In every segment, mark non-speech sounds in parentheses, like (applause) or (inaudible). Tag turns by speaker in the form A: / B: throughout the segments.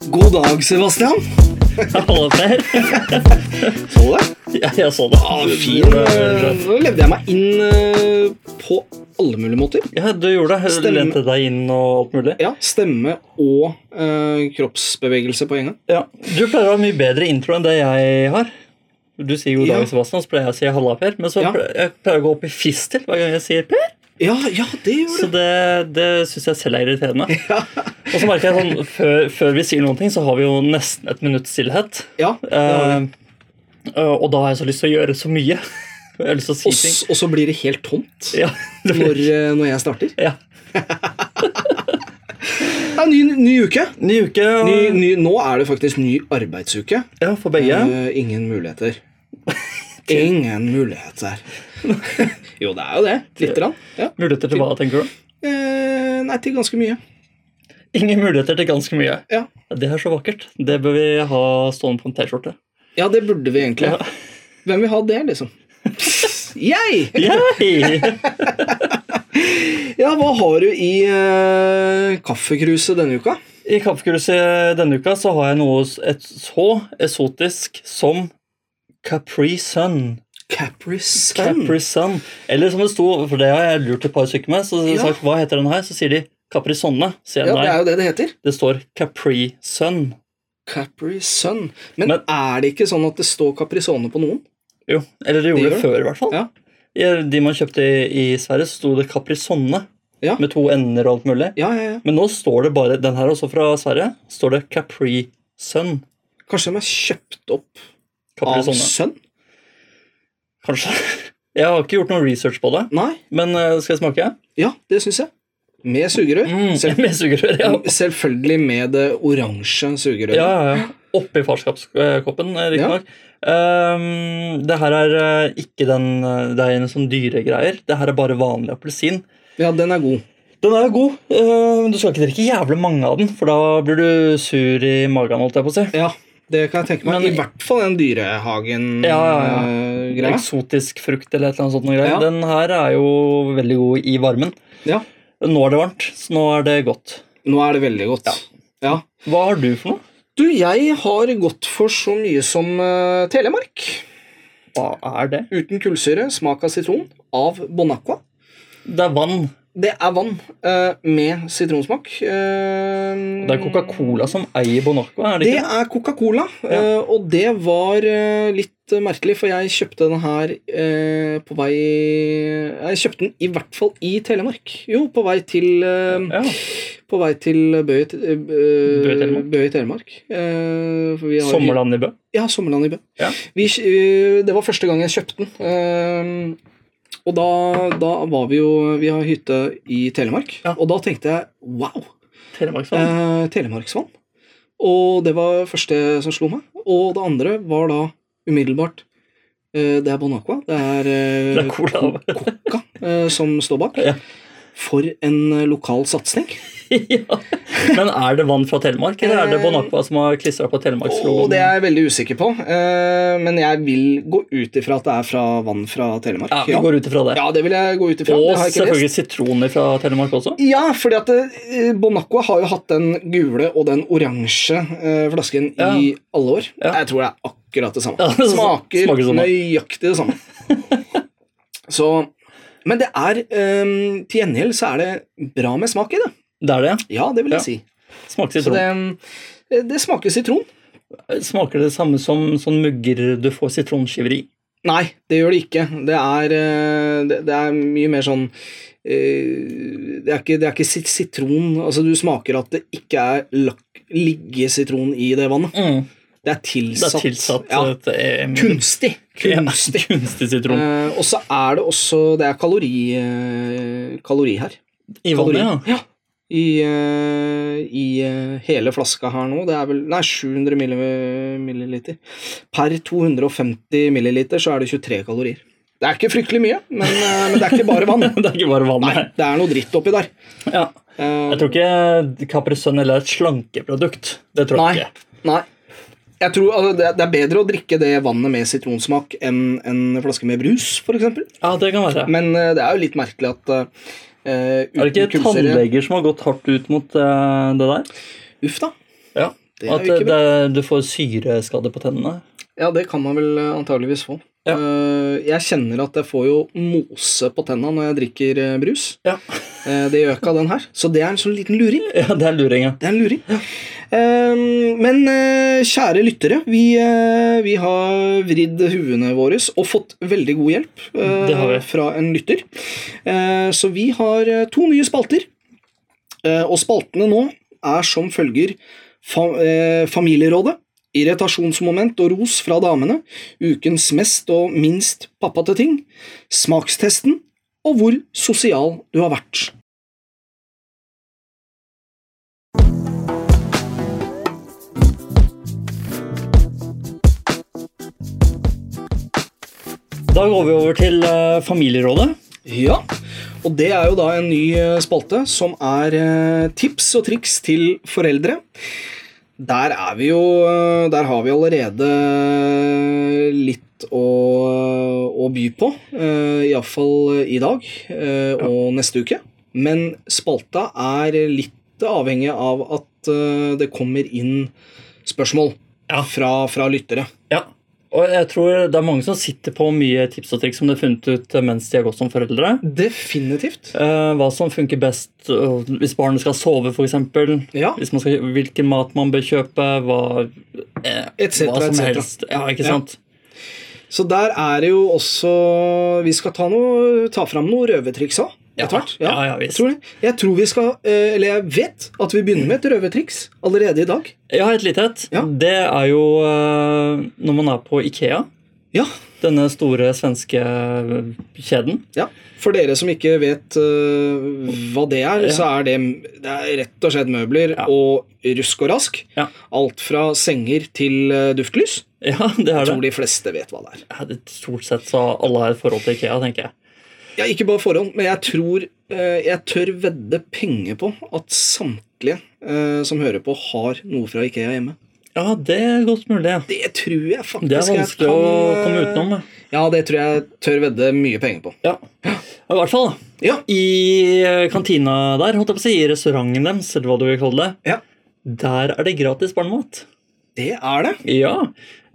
A: God dag, Sebastian.
B: Alle Per?
A: Så du det?
B: Ja, jeg så det.
A: Ja, fin. eh, Nå levde jeg meg inn eh, på alle mulige måter.
B: Ja, du gjorde det. Du
A: Stemme.
B: lente deg inn og alt mulig.
A: Ja, Stemme og eh, kroppsbevegelse på en gang.
B: Ja. Du pleier å ha mye bedre intro enn det jeg har. Du sier god dag,
A: Ja.
B: Sebastian, så pleier jeg å si halla, Per. Men så
A: Ja.
B: pleier jeg pleier å gå opp i fistel hver gang jeg sier Per.
A: Ja, ja, det gjorde
B: Så
A: du.
B: det, det syns jeg selv er (laughs) irriterende. Og så merker jeg sånn, før, før vi sier noen ting, så har vi jo nesten et minutts stillhet.
A: Ja, det var det.
B: Eh, og da har jeg så lyst til å gjøre så mye. (laughs) Jeg har lyst til å
A: Og
B: si ting.
A: s- og så blir det helt tomt
B: Ja, (laughs) det
A: når,
B: blir,
A: eh, når jeg starter.
B: ja.
A: Det er ny, ny uke.
B: Ny uke. og-
A: Ny, ny, nå er det faktisk ny arbeidsuke.
B: Ja, for begge.
A: Eh, ingen (laughs) muligheter. Ingen (laughs) muligheter. jo, det er jo det. Lite grann. Ja.
B: Muligheter til hva, tenker du?
A: Eh, nei, til ganske mye.
B: Ingen muligheter til ganske mye.
A: Ja.
B: Det er så vakkert. Det bør vi ha stående på en T-skjorte.
A: ja, det burde vi egentlig.
B: Ja.
A: Hvem vil ha det,
B: (laughs)
A: liksom? Jeg! (laughs)
B: Yay!
A: Ja, hva har du i eh, kaffekruset denne uka?
B: I Kaffekruset denne uka så har jeg noe s- et så eksotisk som Capri Sun.
A: Capri Sun.
B: Capri Sun. Eller som det sto, for det har jeg lurt et par stykker med, så jeg har
A: Ja.
B: sagt, hva heter den her? Så sier de Capri Sonne. Sier
A: Ja,
B: jeg
A: det er
B: nei.
A: jo det det heter.
B: Det står Capri Sun.
A: Capri Sun. Men,
B: Men-
A: er det ikke sånn at det står Caprisone på noen?
B: Jo, eller det gjorde
A: gjør
B: det
A: det.
B: før, i hvert fall.
A: Ja.
B: I- De man kjøpte i, i Sverige, så sto det Capri Sonne
A: Ja.
B: med to ender og alt mulig.
A: Ja, ja, ja.
B: Men nå står det bare Den her også fra Sverige. Står det Capri Sun.
A: Kanskje de er kjøpt opp
B: Capri
A: av
B: Sunne,
A: Sun?
B: kanskje. (laughs) Jeg har ikke gjort noe research på det,
A: Nei.
B: men eh, skal jeg smake?
A: Ja, det syns jeg. Med sugerør.
B: Mm. (laughs)
A: Selv,
B: Med
A: (laughs)
B: sugerør, ja.
A: selvfølgelig med det oransje sugerøret.
B: ja, ja, ja. Oppi farskapskoppen, eh,
A: Ja.
B: riktignok. Um, det her er eh, ikke den eh, Det er en sånn dyregreier. Det her er bare vanlig appelsin.
A: Ja, den er god.
B: Den er god, eh, men du skal ikke drikke jævlig mange av den, for da blir du sur i magen. holdt jeg på å si.
A: Ja, det kan jeg tenke meg.
B: Men-
A: I hvert fall den eh, dyrehagen-greia.
B: Ja, ja, ja.
A: ja,
B: Eksotisk frukt eller et eller annet sånt. noe greier.
A: Ja.
B: Den her er jo veldig god i varmen.
A: ja.
B: Nå er det varmt, så nå er det godt.
A: Nå er det veldig godt. Ja.
B: Hva har du for noe?
A: Du, jeg har gått for så mye som eh, Telemark.
B: Hva er det?
A: Uten kullsyre, smak av sitron, av Bonacqua.
B: Det er vann.
A: Det er vann eh, med sitronsmak. Eh,
B: Det er Coca-Cola som eier Bonacqua, er det
A: Det
B: ikke?
A: er Coca-Cola, eh, og det var eh, litt eh, merkelig, for jeg kjøpte den her eh, på vei Jeg kjøpte den i hvert fall i Telemark. Jo, på vei til eh,
B: Ja.
A: På vei til Bø i Te- eh,
B: Telemark.
A: Bø i Telemark. Eh, for vi har-
B: Sommerland i Bø.
A: Ja, Sommerland i Bø.
B: Ja.
A: Vi, kj- eh, det var første gang jeg kjøpte den. eh, og da, da var vi jo Vi har hytte i Telemark,
B: Ja.
A: og da tenkte jeg wow!
B: Telemarksvann.
A: Eh, Telemarksvann. Og det var første som slo meg. Og det andre var da umiddelbart eh, Det er Bonacqua. Det er, eh,
B: Det er cola.
A: Co- Coca eh, som står bak.
B: Ja.
A: For en eh, lokal satsing.
B: (laughs) ja. Men er det vann fra Telemark, eller er det Bonacqua som har klistra på
A: Og
B: Telemarkslogoen?
A: det er jeg veldig usikker på. eh, Men jeg vil gå ut ifra at det er fra vann fra Telemark.
B: Ja, vi går ut ifra det.
A: ja det vil jeg gå ut ifra.
B: Og
A: det har jeg ikke lest.
B: selvfølgelig sitroner fra Telemark også.
A: Ja, fordi at eh, Bonacqua har jo hatt den gule og den oransje eh, flasken i
B: Ja.
A: alle år.
B: Ja.
A: Jeg tror det er akkurat det samme.
B: Ja, (laughs) det
A: smaker,
B: smaker sånn, da.
A: nøyaktig det samme.
B: (laughs)
A: så, men det er eh, Til gjengjeld så er det bra med smak i det.
B: Det er det.
A: Ja, det vil
B: Ja.
A: jeg si.
B: Smaker
A: Så
B: sitron.
A: det, eh, det smaker sitron.
B: Smaker det samme som sånn mugger du får sitronskiver i?
A: Nei, det gjør det ikke. Det er, eh, det, det er mye mer sånn eh, Det er ikke, det er ikke sit sitron Altså, du smaker at det ikke er lakk, liggesitron i det vannet. Det er
B: Det
A: tilsatt.
B: er tilsatt
A: Mm. ja.
B: et, eh,
A: Kunstig.
B: (laughs) ja,
A: Kunstig.
B: kunstig sitron.
A: Eh, og så er det også Det er kalori, eh, kalori her.
B: I
A: Kalori.
B: vannet, ja.
A: I, eh, i eh, hele flaska her nå. Det er vel Nei, 700 milli- milliliter. Per 250 milliliter så er det 23 kalorier. Det er ikke fryktelig mye, men, eh, men det er ikke bare
B: (laughs)
A: vann.
B: (laughs) Det er ikke bare vann.
A: Nei, det er noe dritt oppi der.
B: Ja.
A: Eh,
B: Jeg tror ikke Capri Sun heller er et slankeprodukt. Det tror
A: nei,
B: jeg ikke.
A: nei. Jeg tror altså, det, det er bedre å drikke det vannet med sitronsmak enn en flaske med brus, f.eks.
B: Ja, det kan være.
A: Men eh, det er jo litt merkelig at eh,
B: er det
A: uten
B: ikke
A: kullsyre
B: tannleger som har gått hardt ut mot eh, det der?
A: Uff, da.
B: Ja.
A: Det er
B: At
A: jo
B: eh,
A: ikke bra.
B: det, du får syreskade på tennene.
A: Ja, det kan man vel eh, antageligvis få.
B: Ja.
A: Eh, Jeg kjenner at jeg får jo mose på tenna når jeg drikker eh, brus.
B: Ja.
A: Eh, Det gjør ikke av den her. Så det er en sånn liten luring.
B: (laughs) Ja, det er luring, ja.
A: Det er en luring. Ehm, men eh, kjære lyttere, vi, eh, vi har vridd huene våre og fått veldig god hjelp eh,
B: Det har vi.
A: fra en lytter. Eh, så vi har eh, to nye spalter. Eh, og spaltene nå er som følger fa eh, Familierådet, irritasjonsmoment og ros fra damene, ukens mest og minst pappate ting, smakstesten og hvor sosial du har vært.
B: Da går vi over til eh, Familierådet.
A: Ja, og det er jo da en ny eh, spalte som er eh, tips og triks til foreldre. Der er vi jo eh, Der har vi allerede litt å, å by på. Iallfall i dag eh, og neste uke. Men spalta er litt avhengig av at eh, det kommer inn spørsmål
B: Ja.
A: fra, fra lyttere.
B: Ja. Og jeg tror det er mange som sitter på mye tips og triks som de har funnet ut eh, mens de har gått som foreldre.
A: Definitivt.
B: Eh, hva som funker best eh, hvis barnet skal sove, f.eks.
A: Ja.
B: Hvis man skal, hvilken mat man bør kjøpe, hva, eh,
A: Et cetera,
B: hva
A: et
B: som
A: cetera.
B: helst. Ja, ikke
A: Ja.
B: sant?
A: Så der er det jo også Vi skal ta, noe, ta fram noen røvertriks òg.
B: Ja.
A: Etter hvert.
B: Ja, ja, visst.
A: jeg, tror det. jeg tror vi skal eh, Eller jeg vet at vi begynner med et røvertriks allerede i dag.
B: Jeg har et lite et.
A: Ja.
B: Det er jo eh, når man er på Ikea,
A: Ja,
B: denne store svenske eh, kjeden. (laughs)
A: ja. For dere som ikke vet eh, hva det er,
B: Ja.
A: så er det, det er rett og slett møbler
B: Ja.
A: og rusk og rask.
B: Ja.
A: Alt fra senger til eh, duftlys.
B: Ja, det
A: Jeg
B: er det.
A: tror de fleste vet hva det er.
B: Ja, det- Stort sett så alle har et forhold til Ikea, tenker jeg.
A: Ja, ikke bare forhånd, men jeg tror eh, Jeg tør vedde penger på at samtlige eh, som hører på, har noe fra Ikea hjemme.
B: Ja, det er godt mulig. ja.
A: Det tror jeg faktisk
B: Det er
A: jeg
B: vanskelig
A: kan,
B: å
A: eh,
B: komme utenom. da.
A: Ja, det tror jeg tør vedde mye penger på.
B: Ja. Ja, I hvert fall, da.
A: Ja,
B: I eh, kantina der, holdt jeg på å si, i restauranten deres, eller hva du vil kalle det,
A: Ja.
B: der er det gratis barnemat.
A: det er det.
B: Ja.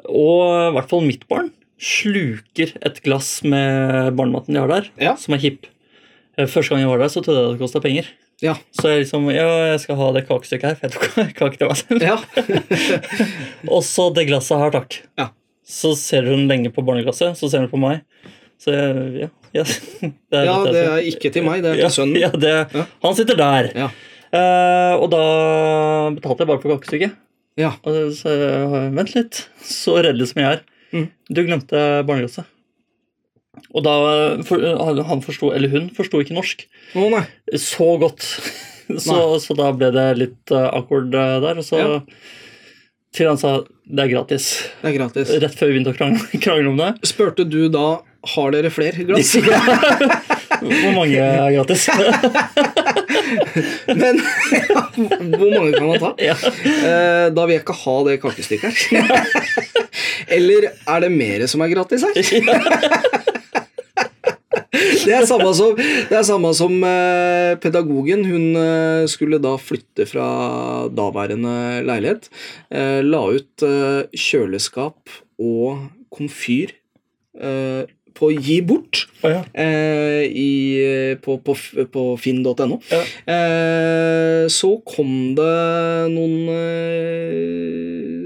B: Og i hvert fall mitt barn sluker et glass med barnematen de har der,
A: Ja.
B: som er hipp. Eh, Første gang jeg var der, så trodde jeg det kosta penger.
A: Ja.
B: Så jeg liksom Ja, jeg skal ha det kakestykket her, for jeg tok (laughs) kake til meg selv.
A: ja. (laughs)
B: Og så det glasset her, takk.
A: Ja.
B: Så ser hun lenge på barneglasset, så ser hun på meg. Så jeg, ja, (laughs) ja. Det
A: ja,
B: dette jeg
A: det
B: sier.
A: er ikke til meg, det er
B: Ja,
A: til sønnen.
B: Ja, det,
A: Ja.
B: Han sitter der.
A: Ja.
B: Eh, og da betalte jeg bare for kakestykket.
A: Ja.
B: Og så sa jeg, vent litt, så redelig som jeg er.
A: Mhm.
B: Du glemte barneglasset. Og da eh, for, han forsto, eller hun forsto ikke norsk
A: Å nei.
B: så godt. (laughs) Så, så da ble det litt eh, awkward eh, der. Og så
A: Ja.
B: til han sa det er gratis.
A: Det er gratis.
B: Rett før vi begynte å krangle, (laughs) krangle om det.
A: Spurte du da har dere flere
B: (laughs)
A: glass?
B: Hvor mange er gratis? (laughs)
A: Men (laughs) hvor mange kan man ta?
B: ja.
A: Eh, da vil jeg ikke ha det kakestykket her. Eller er det mer som er gratis her? Det er samme som, det er samme som eh, pedagogen. Hun eh, skulle da flytte fra daværende leilighet. Eh, la ut eh, kjøleskap og komfyr eh, på Gi bort
B: Å ja.
A: eh, i, på, på, på finn.no.
B: Ja.
A: Eh, så kom det noen eh,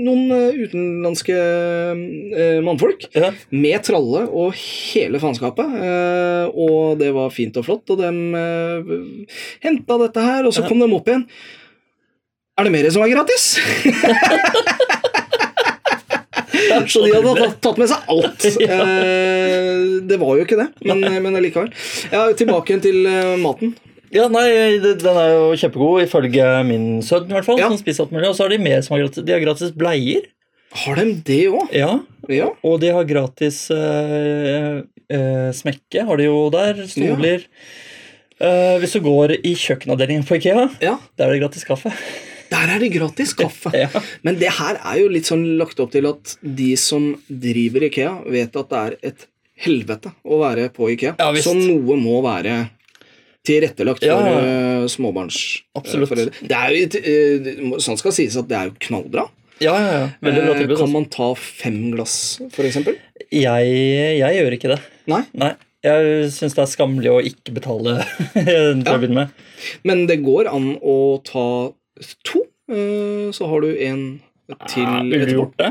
A: noen eh, utenlandske eh, mannfolk
B: Ja.
A: med tralle og hele faenskapet. Eh, og det var fint og flott, og de eh, henta dette her, og så kom de opp igjen. Er det mer som er gratis? Så de hadde tatt- tatt med seg alt. Eh, det var jo ikke det, men, men allikevel. Ja, tilbake igjen til eh, maten.
B: Ja, nei, det- Den er jo kjempegod, ifølge min sønn. i hvert fall,
A: Ja.
B: som spiser alt mulig. Og så har de mer som har gratis, de har gratis bleier.
A: Har de det òg?
B: Ja,
A: Ja.
B: Og de har gratis eh, eh, smekke, har de jo der. Stoler. Eh, hvis du går i kjøkkenavdelingen på Ikea,
A: ja.
B: der er det gratis kaffe.
A: Der er det gratis kaffe.
B: (laughs) Ja.
A: Men det her er jo litt sånn lagt opp til at de som driver Ikea, vet at det er et helvete å være på Ikea.
B: Ja, visst.
A: så noe må være tilrettelagt
B: Ja,
A: for
B: ja,
A: eh, småbarns
B: Absolutt.
A: foreldre. Det er jo, et, eh, sånn skal sies at det er jo knallbra.
B: Ja, ja, ja. Veldig bra
A: Eh,
B: tilbud.
A: Kan
B: altså.
A: man ta fem glass, for eksempel?
B: Jeg, jeg gjør ikke det.
A: Nei.
B: Nei. Jeg syns det er skammelig å ikke betale (laughs) til å
A: Ja.
B: begynne med.
A: Men det går an å ta to, eh, så har du en til
B: Ja, ville du
A: etterpå.
B: gjort det?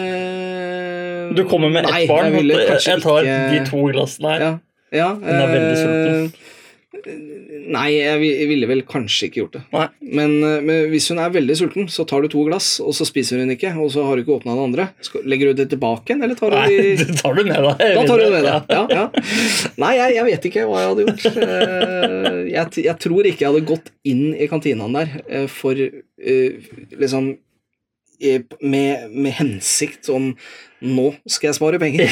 A: Eh,
B: Du kommer med
A: nei,
B: ett barn.
A: Jeg, ville
B: jeg,
A: kanskje
B: jeg tar
A: ikke...
B: de to glassene her.
A: Ja, ja,
B: Den er veldig sulten.
A: eh, Nei, jeg vi- jeg ville vel kanskje ikke gjort det.
B: Nei.
A: Men, eh, men hvis hun er veldig sulten, så tar du to glass, og så spiser hun ikke, og så har du ikke åpna det andre. Skal, legger du det tilbake igjen, eller tar du
B: Nei,
A: det i
B: (laughs) det tar du med deg.
A: da tar du det med
B: Ja.
A: deg. Ja, ja. Nei, jeg, jeg vet ikke hva jeg hadde gjort. Eh, Jeg, t- jeg tror ikke jeg hadde gått inn i kantinaen der eh, for eh, liksom eh, med, med hensikt om Nå skal jeg spare penger.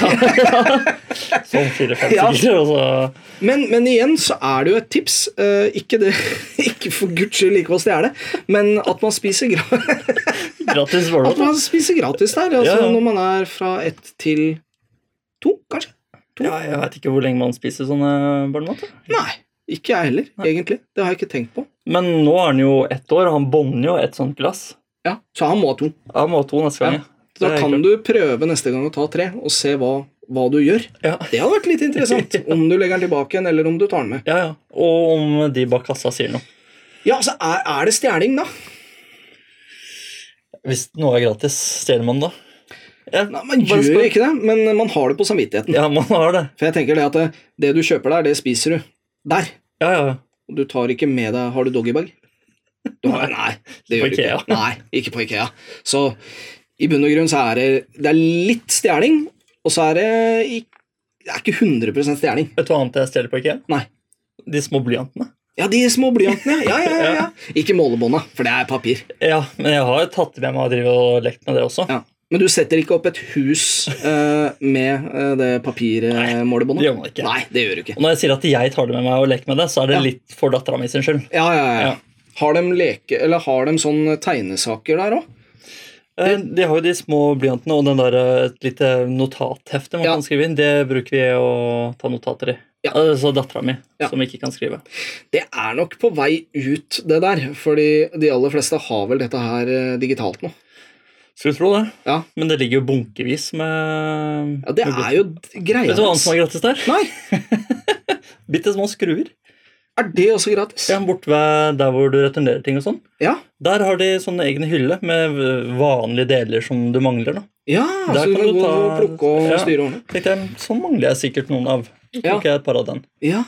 B: Sånn (laughs) fire-fem
A: Ja.
B: stykker, og så
A: (laughs) Men, men igjen så er det jo et tips. eh, ikke, det, (laughs) ikke for guds skyld ikke å stjele, men at man spiser, gra (laughs)
B: gratis var
A: at
B: det. (laughs)
A: man spiser gratis der. Altså,
B: Ja, ja.
A: Når man er fra ett til to, kanskje.
B: Ja, jeg veit ikke hvor lenge man spiser sånne barnemat. da.
A: Nei, ikke jeg heller,
B: Nei.
A: egentlig. Det har jeg ikke tenkt på.
B: Men nå er han jo ett år, og han bånder jo et sånt glass.
A: Ja, Så han må ha to.
B: Jeg må ha to neste gang.
A: Da
B: Det er
A: kan
B: klart.
A: du prøve neste gang å ta tre, og se hva, hva du gjør.
B: Ja.
A: Det hadde vært litt
B: (laughs)
A: interessant. Om du legger den tilbake igjen, eller om du tar den med.
B: Ja, ja. Og om de bak kassa sier noe.
A: Ja, altså, Er, er det stjeling, da?
B: Hvis noe er gratis, stjeler man det? Jeg
A: Nei, Man
B: bare
A: gjør
B: spør.
A: ikke det, men man har det på samvittigheten.
B: Ja, man har det.
A: For jeg tenker det at det, det du kjøper der, det spiser du der.
B: Ja, ja. ja.
A: Og du tar ikke med deg Har du doggybag? Du har, nei, det
B: På
A: gjør du ikke.
B: Ikea.
A: Nei, ikke på Ikea. Så i bunn og grunn så er det, det er litt stjeling, og så er det ikke, det er ikke 100 stjeling.
B: Vet du hva annet jeg stjeler på IKEA?
A: Nei.
B: De små blyantene.
A: Ja, de små blyantene. Ja, ja, ja, (laughs) ja. Ikke målebånda, for det er papir.
B: Ja, men jeg har jo tatt med meg og driver og lekt med det også.
A: Ja. Men du setter ikke opp et hus eh, med eh, det papirmålebåndet?
B: Det gjør man ikke.
A: Nei, det gjør du ikke.
B: Og når jeg sier at jeg tar det med meg og leker med det, så er det
A: Ja.
B: litt for dattera mi sin skyld.
A: Ja, ja, ja.
B: Ja.
A: Har de leke, eller har de sånn tegnesaker der òg?
B: Eh, De har jo de små blyantene og den der, eh, et lite notathefte man
A: Ja.
B: kan skrive inn. Det bruker vi å ta notater i.
A: Ja.
B: Altså dattera mi,
A: Ja.
B: som ikke kan skrive.
A: Det er nok på vei ut, det der. Fordi de aller fleste har vel dette her eh, digitalt nå.
B: Skulle tro det.
A: Ja.
B: Men det ligger jo bunkevis med
A: Ja, Det
B: med
A: er jo d- greia
B: Vet du hva annet
A: hans.
B: som er gratis der?
A: Nei,
B: Bitte små skruer.
A: er det også gratis?
B: Ja, Borte ved der hvor du returnerer ting og sånn.
A: Ja,
B: Der har de sånne egne hyller med vanlige deler som du mangler. da.
A: ja
B: Der
A: så du
B: kan
A: kan
B: du
A: gå
B: ta-
A: og plukke og
B: Ja.
A: styre og ordne.
B: Tenkte jeg, Sånn mangler jeg sikkert noen av.
A: Ja.
B: Ja. Tok jeg et par av den.
A: Ja.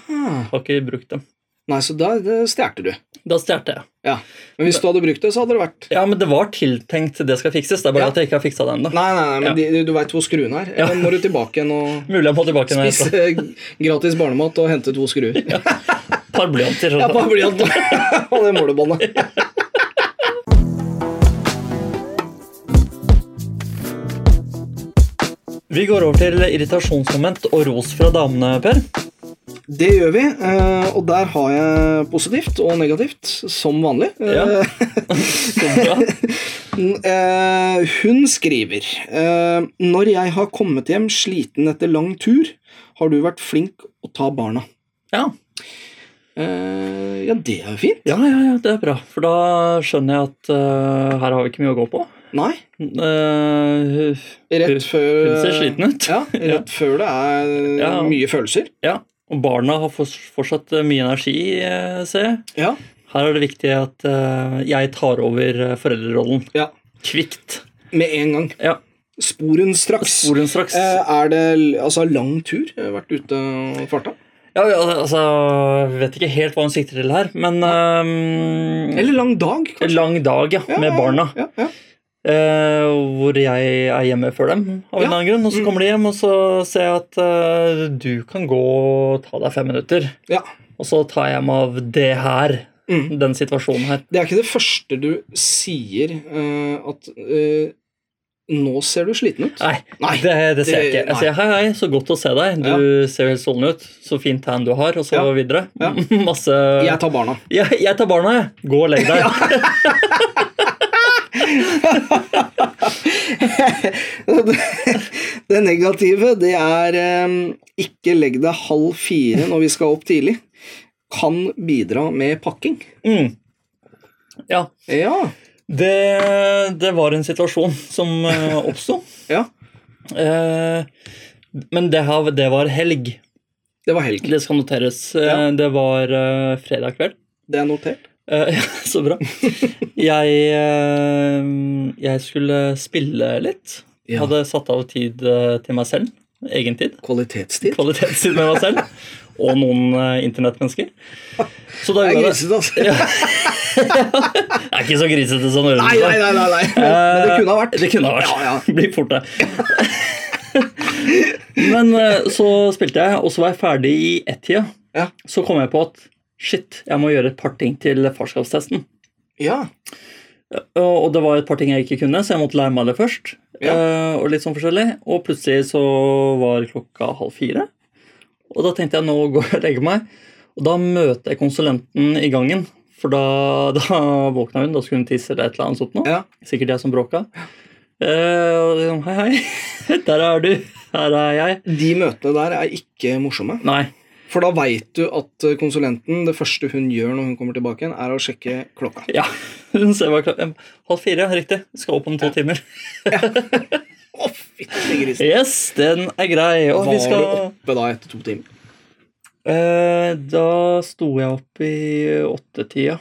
B: Har ikke brukt dem.
A: Nei, så da det stjerte du.
B: Da stjal jeg.
A: Ja. Men hvis du hadde brukt det, så hadde det vært
B: Ja, men det var tiltenkt det skal fikses. Det er bare
A: Ja.
B: at jeg ikke har fiksa det ennå.
A: Nei, nei, nei, men de, du veit hvor skruen er.
B: Ja.
A: Da må du tilbake igjen (laughs) og
B: Mulig jeg må tilbake med sånn et
A: spise (laughs) gratis barnemat og hente to skruer. Ja,
B: par blyanter. sånn.
A: (laughs) bare blyant (laughs) og det målebåndet.
B: Vi går over til irritasjonsmoment og ros fra damene, Per.
A: Det gjør vi, eh, og der har jeg positivt og negativt, som vanlig. (laughs)
B: Ja.
A: Eh,
B: Så bra.
A: (laughs) Eh, hun skriver eh, Når jeg har kommet hjem sliten etter lang tur, har du vært flink å ta barna.
B: Ja.
A: Eh, ja, det er jo fint.
B: Ja, ja, ja, det er bra. For da skjønner jeg at eh, her har vi ikke mye å gå på.
A: Nei,
B: Eh,
A: rett før
B: hun ser sliten ut. (laughs)
A: Ja, rett før det er
B: Ja.
A: mye følelser.
B: Ja, og barna har fors- fortsatt eh, mye energi, eh, ser jeg.
A: Ja,
B: Her er det viktig at eh, jeg tar over eh, foreldrerollen.
A: ja.
B: Kvikt.
A: Med en gang.
B: Ja,
A: Sporen straks.
B: Sporen straks.
A: Eh, er det l- altså, lang tur? Eh, Vært ute og farta?
B: Ja, ja, altså, jeg vet ikke helt hva hun sikter til her, men eh,
A: Eller lang dag, kanskje?
B: Lang dag, ja,
A: Ja,
B: med
A: ja,
B: barna.
A: Ja, ja.
B: Eh, hvor jeg er hjemme før dem, av en
A: Ja. Mm.
B: eller annen grunn. Og så kommer de hjem, og så ser jeg at eh, du kan gå og ta deg fem minutter.
A: ja.
B: Og så tar jeg meg av det her.
A: Mm.
B: Den situasjonen her.
A: Det er ikke det første du sier eh, at eh, Nå ser du sliten ut.
B: Nei,
A: Nei,
B: det, det ser jeg
A: det-
B: ikke. Jeg sier hei, hei, så godt å se deg. Du ser jo helt solen ut. Så fin tan du har, og så
A: Ja.
B: videre.
A: Ja.
B: (laughs) Masse
A: Jeg tar barna. (laughs)
B: jeg, jeg tar barna, jeg. Gå og legg deg.
A: Det negative, det er eh, ikke legg deg halv fire når vi skal opp tidlig. kan bidra med pakking.
B: Mm. Ja,
A: Ja.
B: det, det var en situasjon som eh, oppsto.
A: ja.
B: Eh, men det, her, det var helg.
A: Det var helg.
B: Det skal noteres. Eh,
A: Ja.
B: Det var eh, fredag kveld.
A: Det er notert.
B: Eh, (laughs) så bra. Jeg, eh, jeg skulle spille litt.
A: Ja.
B: Hadde satt av tid eh, til meg selv. Egen tid.
A: Kvalitetstid.
B: Kvalitetstid med meg selv. Og noen eh, internettmennesker. Så da
A: Det er
B: gjorde jeg det.
A: grisete, altså.
B: Det er ikke så grisete som det
A: (laughs)
B: høres
A: Nei,
B: ut.
A: nei, nei, nei, nei. Men, men det kunne ha vært.
B: Eh, Det kunne ha vært.
A: Ja, ja.
B: (laughs) Blir fort det. Men eh, så spilte jeg, og så var jeg ferdig i ett-tida.
A: Ja.
B: Så kom jeg på at shit, jeg må gjøre et par ting til farskapstesten.
A: Ja.
B: Og og det var et par ting jeg ikke kunne, så jeg måtte lære meg det først.
A: Ja.
B: Eh, Og litt sånn forskjellig. Og plutselig så var klokka halv fire. Og da tenkte jeg nå går jeg og legger meg. Og da møter jeg konsulenten i gangen. For da, (laughs) da våkna hun, da skulle hun tisse eller et eller annet sånt noe.
A: Ja.
B: Sikkert jeg som bråka. Eh, og liksom, hei, hei. (laughs) Der er du. Her er jeg.
A: De møtene der er ikke morsomme.
B: Nei.
A: For da veit du at konsulenten, det første hun gjør når hun kommer tilbake igjen, er å sjekke klokka.
B: Ja. (laughs) Hun ser bare klokka Halv fire, riktig. Skal opp om to timer.
A: Å, fytti grisen.
B: Yes, den er grei. Og
A: Var
B: vi skal
A: du oppe da etter to timer?
B: Eh, da sto jeg opp i åttetida.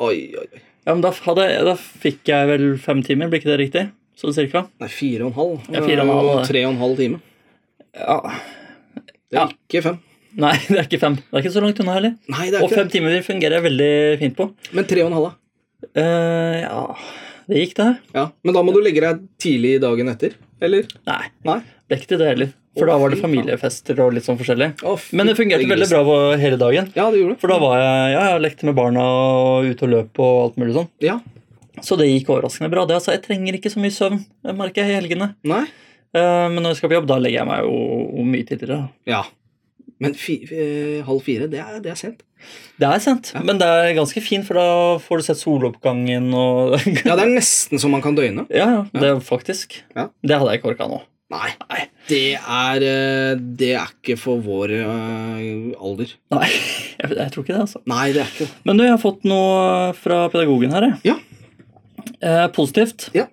A: Oi, oi, oi.
B: Ja, men da, hadde, da fikk jeg vel fem timer, blir ikke det riktig? Sånn cirka?
A: Nei, fire og en halv.
B: Ja, fire og en halv,
A: Det er jo
B: det.
A: Tre og en halv time.
B: Ja.
A: Det er
B: Ja.
A: ikke fem.
B: Nei, (laughs) det er ikke fem. Det er ikke så langt unna heller.
A: Nei, det er
B: Og
A: ikke
B: fem timer fungerer jeg veldig fint på.
A: det. Men tre og en halv, da.
B: Eh, ja Det gikk, det.
A: Ja. Men da må du legge deg tidlig dagen etter, eller?
B: Nei,
A: Nei.
B: det er ikke det heller. For
A: Å,
B: da var det
A: fy faen.
B: familiefester og litt sånn forskjellig.
A: Å, fytti
B: Men det fungerte veldig
A: grisen.
B: bra på- hele dagen.
A: Ja, det gjorde det.
B: For da var jeg ja, jeg lekte med barna og ute og løp og alt mulig sånn.
A: Ja.
B: Så det gikk overraskende bra. Det, altså, jeg trenger ikke så mye søvn, det merker jeg i helgene.
A: Nei.
B: Eh, Men når jeg skal på jobb, da legger jeg meg jo mye tidligere. da.
A: Ja. Men fi, eh, halv fire, det er, det er sent.
B: Det er sent, men det er ganske fint, for da får du sett soloppgangen og (laughs)
A: Ja, det er nesten så man kan døgne.
B: Ja, ja, det er faktisk.
A: Ja.
B: Det hadde jeg ikke orka nå.
A: Nei.
B: Nei.
A: Det er, eh, det er ikke for vår eh, alder.
B: Nei, (laughs) jeg, jeg tror ikke det, altså.
A: Nei, det er ikke det.
B: Men du, jeg har fått noe fra pedagogen her, jeg.
A: Ja.
B: Eh, positivt.
A: Ja.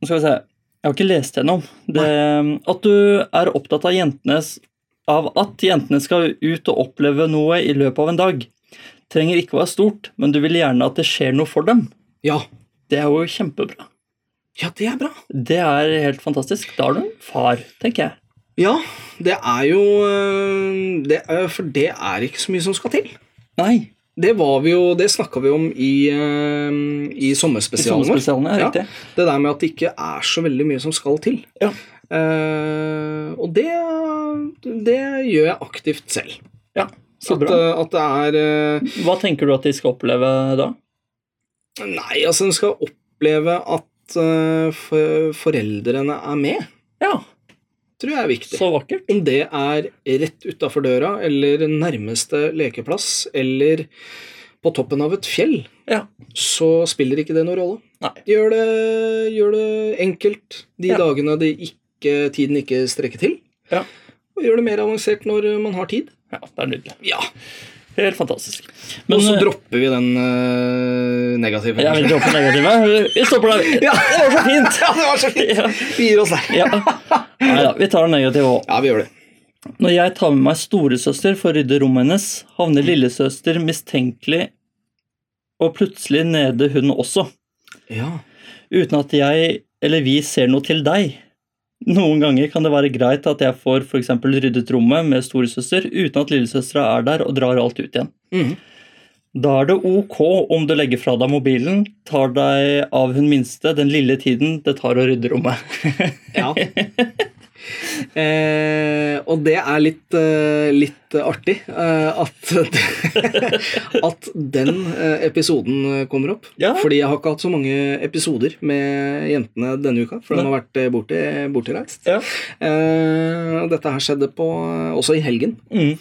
B: Nå skal vi se. Jeg har ikke lest gjennom. Det, at du er opptatt av jentenes av at jentene skal ut og oppleve noe i løpet av en dag. Trenger ikke å være stort, men du vil gjerne at det skjer noe for dem.
A: Ja.
B: Det er jo kjempebra.
A: ja, det er bra.
B: Det er helt fantastisk. Da har du en far, tenker jeg.
A: Ja, det er jo eh, det, er- For det er ikke så mye som skal til.
B: Nei.
A: Det var vi jo, det snakka vi om i, eh, i
B: I
A: sommerspesialen vår.
B: sommerspesialene, ja.
A: Ja.
B: Riktig.
A: Det der med at det ikke er så veldig mye som skal til.
B: Ja.
A: Eh, og det, det gjør jeg aktivt selv.
B: ja. Så
A: At,
B: bra.
A: eh, at det er eh,
B: Hva tenker du at de skal oppleve da?
A: Nei, altså, en skal oppleve at eh, for, foreldrene er med,
B: Ja,
A: tror jeg er viktig.
B: så vakkert.
A: Om det er rett utafor døra, eller nærmeste lekeplass, eller på toppen av et fjell,
B: Ja.
A: så spiller ikke det noen rolle.
B: Nei.
A: Gjør det, gjør det enkelt de
B: Ja.
A: dagene det ikke, tiden ikke strekker til.
B: Ja.
A: Og gjør det mer avansert når man har tid.
B: ja, det er nydelig.
A: Ja,
B: Helt fantastisk.
A: Og så
B: eh,
A: dropper vi den eh, negative.
B: Jeg vil droppe negativet. Vi stopper der. (laughs)
A: Ja.
B: Det var så fint!
A: (laughs) Ja, det var så fint!
B: Ja.
A: Vi gir oss der.
B: Ja. Nei da, vi tar den negative òg.
A: Ja, vi gjør det.
B: Når jeg tar med meg storesøster for å rydde rommet hennes, havner lillesøster mistenkelig og plutselig nede hun også,
A: Ja.
B: uten at jeg eller vi ser noe til deg. Noen ganger kan det være greit at jeg får for eksempel ryddet rommet med storesøster uten at lillesøstera er der og drar alt ut igjen.
A: Mhm.
B: Da er det ok om du legger fra deg mobilen, tar deg av hun minste den lille tiden det tar å rydde rommet. (laughs)
A: Ja. (laughs) Eh, og det er litt, eh, litt artig eh, at, (laughs) at den eh, episoden kommer opp.
B: Ja.
A: Fordi jeg har ikke hatt så mange episoder med jentene denne uka, for de har vært eh, borti, bortireist.
B: ja.
A: Eh, dette her skjedde på, også i helgen.
B: Mm.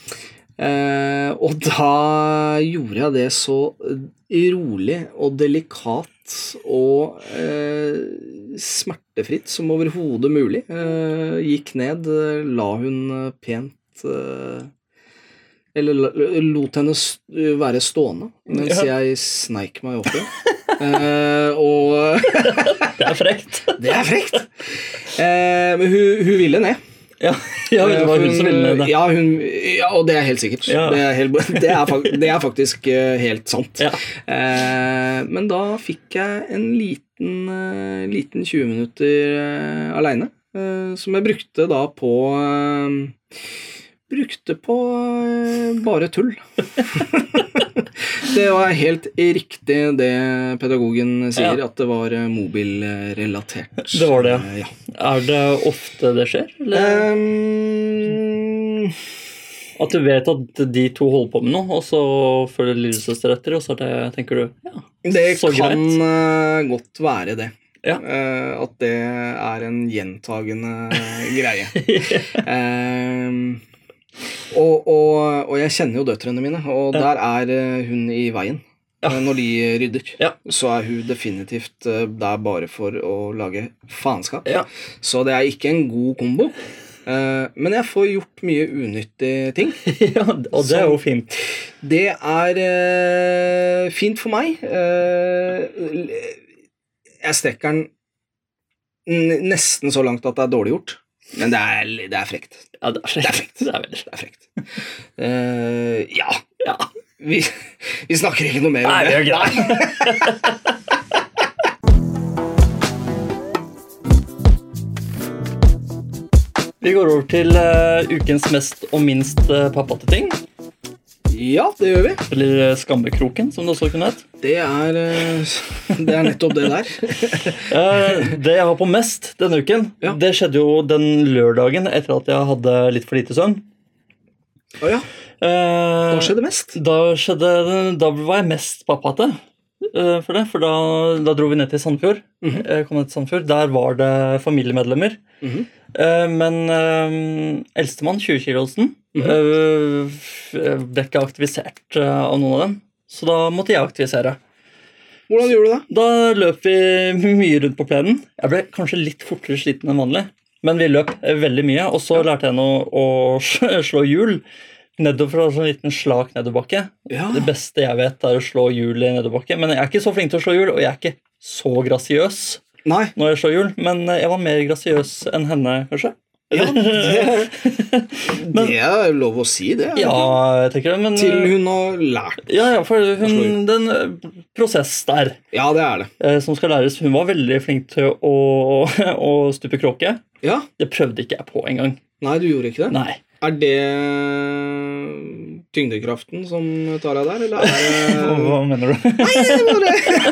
A: Eh, og da gjorde jeg det så eh, rolig og delikat og eh, smertefritt som overhodet mulig. Eh, gikk ned, eh, la hun eh, pent eh, Eller la- lot henne s- eh, være stående mens
B: Ja.
A: jeg sneik meg oppi. Eh, og (laughs)
B: Det er frekt.
A: Det er frekt! Eh, men hun, hun ville ned.
B: Ja, ja det var hun som ville det.
A: Ja, Eh, hun, ja, og det er helt sikkert.
B: Ja.
A: Det, er helt, (laughs) det, er, fak- det er faktisk eh, helt sant.
B: Ja.
A: Eh, men da fikk jeg en liten, eh, liten 20 minutter eh, aleine, eh, som jeg brukte da på eh, Brukte på eh, bare tull. (laughs) det var helt riktig det pedagogen sier, at det var eh, mobilrelatert.
B: Det var det, ja.
A: Eh, ja.
B: Er det ofte det skjer? Eller?
A: Ehm,
B: At du vet at de to holder på med noe, og så følger lillesøster etter, og så er det, tenker du ja.
A: det
B: Så
A: kan
B: greit.
A: eh, godt være det.
B: Ja.
A: Eh, at det er en
B: (laughs)
A: gjentagende greie. Ehm, og, og, og jeg kjenner jo døtrene mine, og
B: Ja.
A: der er eh, hun i veien.
B: Ja.
A: Eh, Når de rydder,
B: (laughs) Ja.
A: så er hun definitivt eh, der bare for å lage faenskap.
B: Ja.
A: Så det er ikke en god kombo. Eh, men jeg får gjort mye unyttige ting.
B: ja, og det er jo fint.
A: Det er eh, fint for meg. Eh, l- jeg strekker den n- nesten så langt at det er dårlig gjort. Men det er, det er frekt.
B: Ja, det er
A: Det er
B: frekt.
A: frekt.
B: (laughs) Det er veldig frekt.
A: Det er frekt. Eh, ja.
B: Ja.
A: Vi, vi snakker ikke noe mer
B: Nei,
A: om
B: det
A: det.
B: er
A: (laughs)
B: greit. Vi går over til eh, ukens mest og minst eh, pappate ting.
A: Ja, det gjør vi.
B: Eller eh, skammekroken, som det også kunne hett.
A: Det er, eh, det er nettopp det der. (laughs)
B: Eh, Det jeg har på mest denne uken,
A: Ja.
B: det skjedde jo den lørdagen etter at jeg hadde litt for lite søvn. Eh,
A: Å ja, hva skjedde mest?
B: Da, skjedde, da var jeg mest pappate eh, for det, for da, da dro vi ned til Sandfjord.
A: Mhm.
B: Eh, kom ned til Sandfjord. Der var det familiemedlemmer.
A: Mhm.
B: Eh, men eh, eldstemann, 20-kilosen,
A: Mhm.
B: mm eh, ble ikke aktivisert eh, av noen av dem. Så da måtte jeg aktivisere.
A: Hvordan gjorde du det?
B: Da løp vi (laughs) mye rundt på plenen. Jeg ble kanskje litt fortere sliten enn vanlig, men vi løp eh, veldig mye. Og så lærte jeg henne å, (laughs) å slå hjul nedover fra en sånn liten slak nedoverbakke.
A: Ja,
B: Det beste jeg vet, er å slå hjul i nedoverbakke. Men jeg er ikke så flink til å slå hjul, og jeg er ikke så grasiøs
A: Nei.
B: når jeg slår hjul. Men eh, jeg var mer grasiøs enn henne, kanskje.
A: Ja, det,
B: (laughs)
A: det er lov å si, det.
B: Ja, jeg tenker det, men eh,
A: Til hun har lært.
B: ja, ja, for
A: slå
B: hun, den eh, prosess der
A: Ja, det er det.
B: eh, som skal læres Hun var veldig flink til å, å (laughs) stupe kråke.
A: Ja,
B: Det prøvde ikke jeg på engang.
A: Nei, du gjorde ikke det?
B: Nei.
A: Er det tyngdekraften som tar deg der, eller
B: (laughs)
A: er det
B: Hva mener du?
A: Nei, (laughs) bare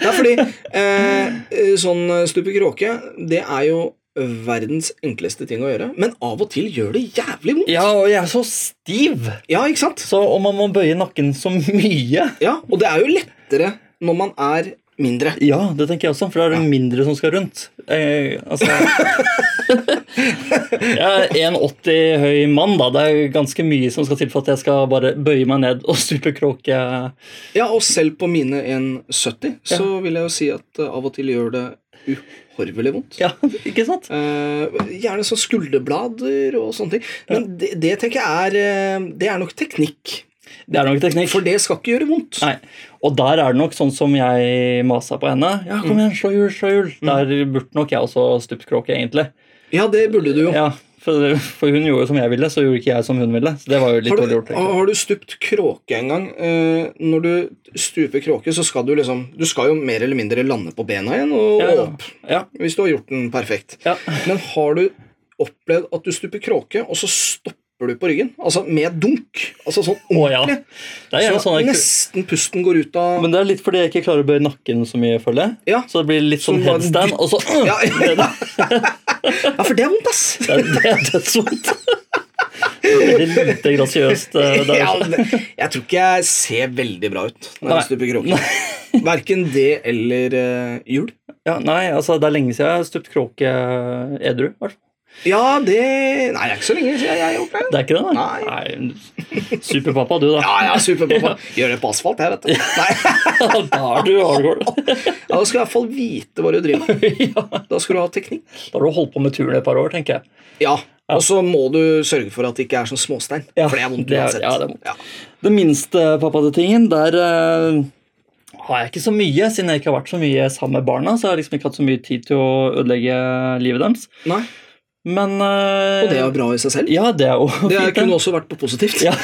A: Det er fordi eh, sånn stupe kråke, det er jo verdens enkleste ting å gjøre. Men av og til gjør det jævlig vondt.
B: Ja, og jeg er så stiv,
A: Ja, ikke sant?
B: så om man må bøye nakken så mye
A: Ja, Og det er jo lettere når man er mindre.
B: Ja, det tenker jeg også, for da er det mindre som skal rundt. Eh,
A: (laughs)
B: altså, (laughs) jeg er 1,80 høy mann, da. Det er ganske mye som skal til for at jeg skal bare bøye meg ned og stupe kråke.
A: Ja, og selv på mine 1,70 så vil jeg jo si at eh, av og til gjør det uhorvelig vondt.
B: Ja, ikke sant?
A: Eh, gjerne sånn skulderblader og sånne ting. Men det, det tenker jeg er eh, Det er nok teknikk.
B: Det er nok teknikk.
A: For det skal ikke gjøre vondt.
B: Nei. Og der er det nok sånn som jeg masa på henne. Ja, kom
A: Mm.
B: igjen, slå hjul, slå hjul. Der burde nok jeg også stupt kråke, egentlig.
A: Ja, det burde du jo.
B: Ja, for, for hun gjorde jo som jeg ville, så gjorde ikke jeg som hun ville. Så det var jo litt
A: Har
B: dårlig
A: du,
B: gjort. egentlig.
A: har du stupt kråke en gang? eh, når du stuper kråke, så skal du liksom Du skal jo mer eller mindre lande på bena igjen og
B: Ja, ja.
A: opp.
B: Ja,
A: Hvis du har gjort den perfekt.
B: ja.
A: Men har du opplevd at du stuper kråke, og så stopper du på ryggen? Altså med dunk. Altså sånn
B: Å, ja.
A: ordentlig.
B: Det er gjerne
A: så
B: sånn jeg
A: nesten pusten går ut av
B: Men det er litt fordi jeg ikke klarer å bøye nakken så mye, føler jeg.
A: Ja.
B: Så det blir litt sånn
A: Så bare
B: headstand, og så
A: ja,
B: det,
A: ja, (laughs) for det er vondt, ass.
B: er- (laughs) det er dødsvondt. Det er Veldig lite grasiøst eh, der.
A: (laughs) Ja, men jeg tror ikke jeg ser veldig bra ut når
B: Nei.
A: jeg stuper kråke. (laughs) Verken det eller eh, hjul.
B: Ja, nei, altså, det er lenge siden jeg har stupt kråke eh, edru. i hvert fall.
A: Ja, det Nei, det er ikke så lenge siden jeg gjorde det.
B: Det er ikke det, da?
A: Nei.
B: nei. Superpappa, du, da.
A: Ja, ja, superpappa. Gjør det på asfalt, jeg, vet du. Nei,
B: (laughs) Da er du hardcore.
A: ja,
B: (laughs)
A: Da skal du i hvert fall vite hva du driver med.
B: Ja,
A: Da skal du ha teknikk.
B: da har du holdt på med turen i et par år, tenker jeg.
A: Ja, Og så må du sørge for at det ikke er sånn småstein,
B: Ja,
A: for det er vondt
B: det er-
A: uansett.
B: ja, det er vondt. Den minste eh, pappatingen, der eh, har jeg ikke så mye, siden jeg ikke har vært så mye sammen med barna. Så jeg har liksom ikke hatt så mye tid til å ødelegge livet deres.
A: Nei,
B: Men eh,
A: og det er jo bra i seg selv.
B: Ja, det er jo
A: (laughs) Det er-
B: fint.
A: kunne
B: det.
A: også vært på positivt.
B: Ja.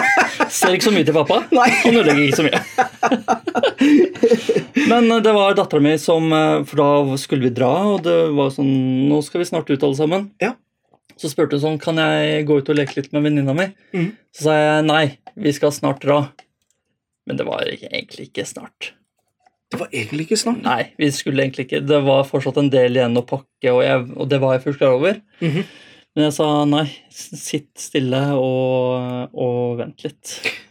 B: (laughs) Ser ikke så mye til pappa. (laughs)
A: Nei.
B: Han ødelegger ikke så
A: (laughs)
B: mye. Men eh, det var dattera mi som eh, For da skulle vi dra, og det var sånn Nå skal vi snart ut, alle sammen.
A: Ja.
B: Så spurte hun sånn Kan jeg gå ut og leke litt med venninna mi?
A: Mhm.
B: Så sa jeg nei, vi skal snart dra. Men det var ikke- egentlig ikke snart.
A: Det var egentlig ikke snart.
B: Nei, vi skulle egentlig ikke. Det var fortsatt en del igjen å pakke, og, jeg, og det var jeg fullt klar over.
A: Mhm.
B: Men jeg sa nei, s- sitt stille og, og vent litt.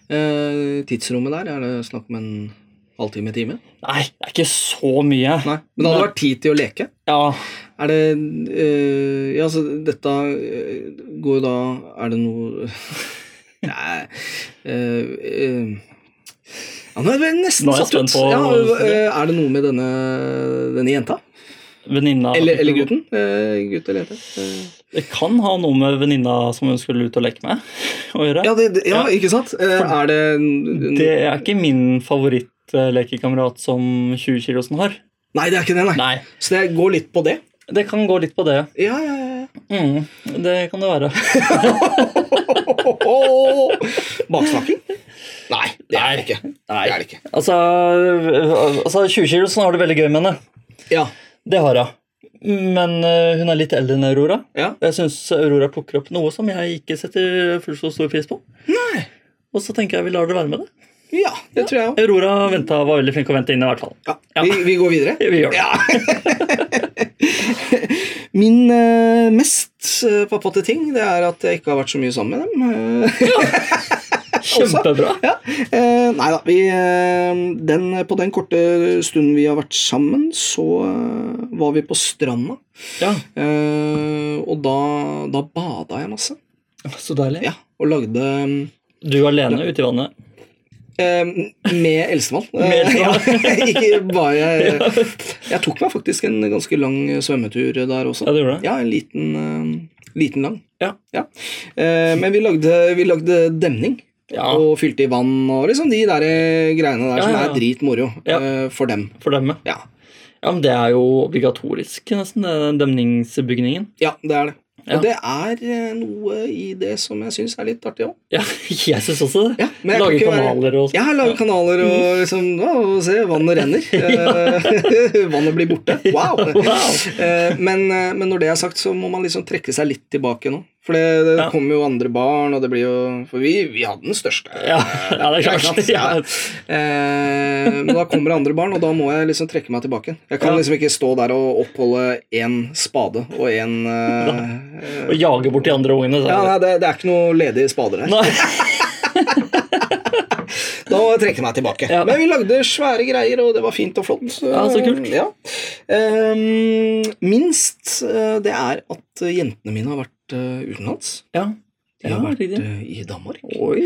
A: Eh, tidsrommet der, er det snakk om en halvtime, time?
B: Nei, det er ikke så mye.
A: Nei. Men det hadde vært tid til å leke.
B: Ja,
A: Er det eh, Ja, så dette eh, går jo da Er det noe (laughs) Nei eh, eh, ja, Nå er jeg nesten
B: Nå er jeg
A: satt ut.
B: spent på-
A: Ja, eh, er det noe med denne, denne jenta?
B: venninna
A: Eller, eller gutten? Eh, gutt eller jente? Eh,
B: Det kan ha noe med venninna som hun skulle ut og leke med å gjøre.
A: ja, det, det- ja, ikke sant? Eh, er det,
B: Det er ikke min favorittlekekamerat som 20-kilosen har.
A: Nei, det er ikke det, nei.
B: Nei.
A: Så det går litt på det.
B: Det kan gå litt på det.
A: Ja, ja, ja. ja.
B: Mm, det kan det være. (laughs)
A: Baksnakking? Nei, det er det ikke.
B: Nei.
A: Det er det ikke.
B: Altså, øh, altså 20-kilosen har det veldig gøy med henne.
A: Ja.
B: Det har hun. Men øh, hun er litt eldre enn Aurora.
A: ja.
B: Og Jeg syns Aurora plukker opp noe som jeg ikke setter fullt så stor pris på.
A: Nei.
B: Og så tenker jeg vi lar det være med det.
A: Ja, det tror jeg òg.
B: Aurora venta, var veldig flink å vente inn i hvert fall.
A: Ja. Vi, vi går videre.
B: Vi gjør det.
A: Ja. Min eh, mest eh, pappate ting det er at jeg ikke har vært så mye sammen med dem. Eh,
B: (laughs) Kjempebra.
A: (laughs) ja. eh, nei da. Vi, eh, den, på den korte stunden vi har vært sammen, så eh, var vi på stranda.
B: Ja,
A: Eh, og da, da bada jeg masse.
B: Så deilig.
A: Ja, og lagde
B: Du alene ute i vannet.
A: eh, Med eldstemann.
B: (laughs) Med eldstemann.
A: Eh, ja, (laughs) ikke bare jeg, jeg tok meg faktisk en ganske lang svømmetur der også.
B: Ja, du gjorde det?
A: Ja, en liten, eh, liten lang.
B: Ja.
A: Eh, men vi lagde, vi lagde demning.
B: Ja.
A: Og fylte i vann og liksom de der eh, greiene der
B: Ja,
A: som
B: ja, ja.
A: er dritmoro
B: Ja.
A: eh, for dem.
B: For dem, ja.
A: Ja.
B: ja. Men det er jo obligatorisk, nesten, den demningsbygningen.
A: ja, det er det.
B: Ja.
A: Og det er eh, noe i det som jeg syns er litt artig òg.
B: Ja, (laughs) jeg syns også det.
A: Ja, men jeg
B: Lage
A: kan ikke være-
B: kanaler og Mm.
A: Ja, lage kanaler og liksom å, Se, vannet
B: (laughs)
A: renner. Eh, (laughs) vannet blir borte. Wow!
B: Wow.
A: Eh, men, eh, men når det er sagt, så må man liksom trekke seg litt tilbake nå. For det, det
B: Ja.
A: kommer jo andre barn, og det blir jo For vi, vi hadde den største.
B: Ja, ja, det er
A: Ikke
B: klart.
A: sant?
B: Ja.
A: (laughs) Ja. Eh, men da kommer det andre barn, og da må jeg liksom trekke meg tilbake. Jeg kan
B: Ja.
A: liksom ikke stå der og oppholde én spade og én
B: (laughs)
A: eh,
B: Og jage bort de andre ungene.
A: Ja,
B: Så.
A: nei, det, det er ikke noe ledige spader her.
B: Nei.
A: Da trekker jeg meg tilbake.
B: Ja.
A: Men vi lagde svære greier, og det var fint og flott.
B: Ja, så kult.
A: Ja. Ehm, minst eh, det er at eh, jentene mine har vært eh, utenlands.
B: Ja.
A: De
B: Ja,
A: har vært
B: riktig.
A: eh, i Danmark.
B: Oi.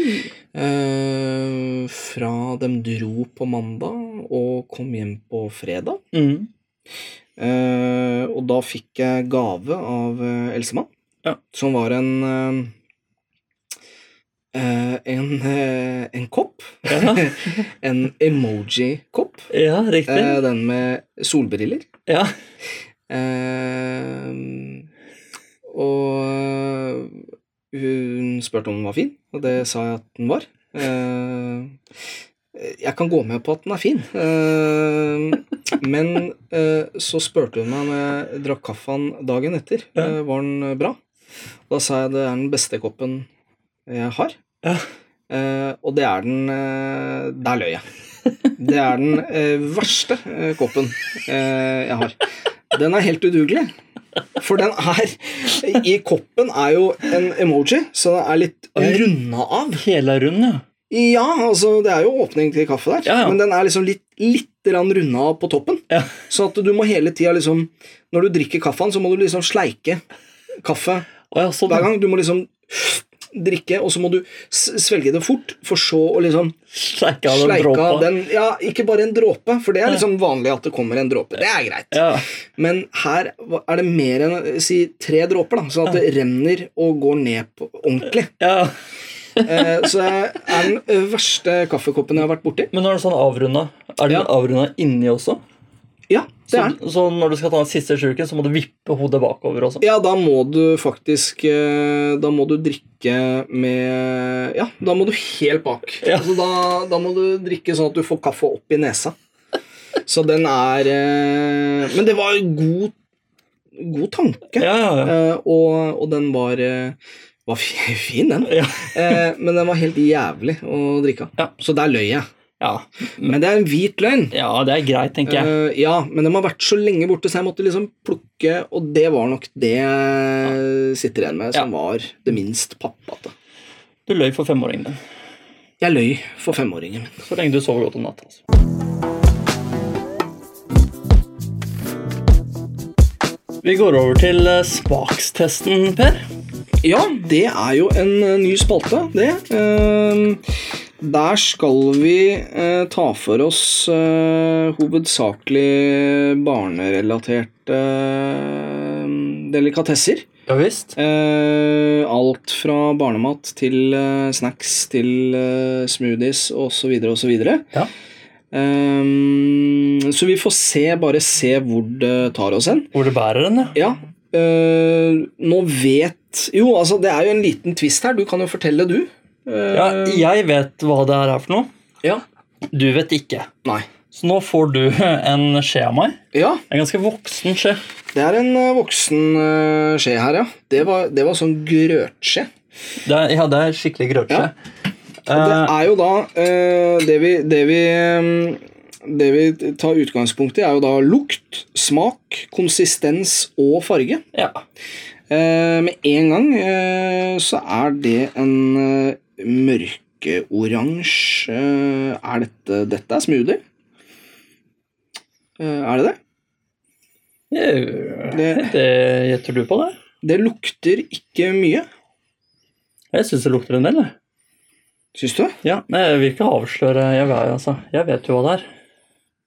A: Eh, fra de dro på mandag og kom hjem på fredag.
B: Mm.
A: Eh, og da fikk jeg gave av eh, Elsemann,
B: Ja.
A: som var en eh, eh, en, eh, en kopp.
B: Ja.
A: (laughs) en emoji-kopp.
B: ja, riktig.
A: Eh, den med solbriller.
B: Ja.
A: Eh, og hun spurte om den var fin, og det sa jeg at den var. Eh, jeg kan gå med på at den er fin, eh, men eh, så spurte hun meg når jeg drakk kaffen dagen etter,
B: Ja.
A: eh, var den bra? Og da sa jeg det er den beste koppen jeg har.
B: Ja.
A: Eh, og det er den eh, Der løy jeg. Det er den eh, verste eh, koppen eh, jeg har. Den er helt udugelig. For den er I koppen er jo en emoji, så den er litt
B: Oi.
A: runda av.
B: Hele er rund, ja.
A: Ja, altså det er jo åpning til kaffe der,
B: Ja, ja.
A: men den er liksom litt, litt rann runda av på toppen.
B: Ja.
A: Så at du må hele tida liksom Når du drikker kaffen, så må du liksom sleike kaffe
B: Å, ja sånn. (laughs)
A: hver gang. Du må liksom drikke, og så må du s- svelge det fort, for så å liksom
B: Sleika av den
A: sleike av
B: dråpa.
A: den Ja, ikke bare en dråpe, for det er liksom vanlig at det kommer en dråpe. Det er greit.
B: Ja.
A: Men her er det mer enn si, tre dråper, da, sånn at det renner og går ned på ordentlig.
B: ja.
A: Eh, så det er den verste kaffekoppen jeg har vært borti.
B: Men nå er den sånn avrunda. Er den
A: Ja.
B: avrunda inni også?
A: Ja, det
B: Så,
A: er den.
B: så når du skal ta den siste slurken, så må du vippe hodet bakover også.
A: Ja, da må du faktisk eh, Da må du drikke med Ja, da må du helt bak.
B: Ja.
A: Altså, da, da må du drikke sånn at du får kaffe opp i nesa. Så den er eh, Men det var en god, god tanke.
B: Ja, ja, ja.
A: Eh, og, og den var, eh, var fi- fin, den.
B: Ja.
A: Eh, men den var helt jævlig å drikke av.
B: Ja.
A: Så der løy jeg.
B: Ja,
A: Men det er en hvit løgn.
B: ja det er greit, tenker jeg.
A: Eh, ja, men den har vært så lenge borte, så jeg måtte liksom plukke, og det var nok det jeg sitter igjen med, som var det minst pappate.
B: Du løy for femåringen din.
A: Jeg løy for femåringen min.
B: Så lenge du sover godt om natta. Altså. Vi går over til eh, smakstesten, Per.
A: Ja, det er jo en eh, ny spalte, det. Eh, der skal vi eh, ta for oss eh, hovedsakelig barnerelaterte eh, delikatesser.
B: Ja visst.
A: Eh, alt fra barnemat til eh, snacks til eh, smoothies osv. osv.
B: Ja.
A: Um, Eh, så vi får se, bare se hvor det tar oss hen.
B: Hvor det bærer den, ja.
A: Ja. eh, nå vet Jo, altså, det er jo en liten twist her. Du kan jo fortelle, du. Eh,
B: ja. Jeg vet hva det her er for noe.
A: ja.
B: Du vet ikke.
A: Nei.
B: Så nå får du (laughs) en skje av meg.
A: Ja,
B: En ganske voksen skje.
A: det er en eh, voksen eh, skje her, ja. Det var, det var sånn grøtskje.
B: Det er, ja, det er skikkelig grøtskje.
A: Og det
B: Eh,
A: er jo da eh, det, vi, det, vi, eh, det vi tar utgangspunkt i, er jo da lukt, smak, konsistens og farge.
B: ja.
A: Eh, med en gang eh, så er det en eh, mørkeoransje eh, Er dette Dette er smoothie? Eh, er det det?
B: Det,
A: Det-
B: det gjetter du på, det?
A: Det lukter ikke mye.
B: Jeg syns det lukter en del. jeg.
A: Syns du?
B: Ja, nei, Jeg vil ikke avsløre jeg, vet- altså. jeg vet jo hva det er.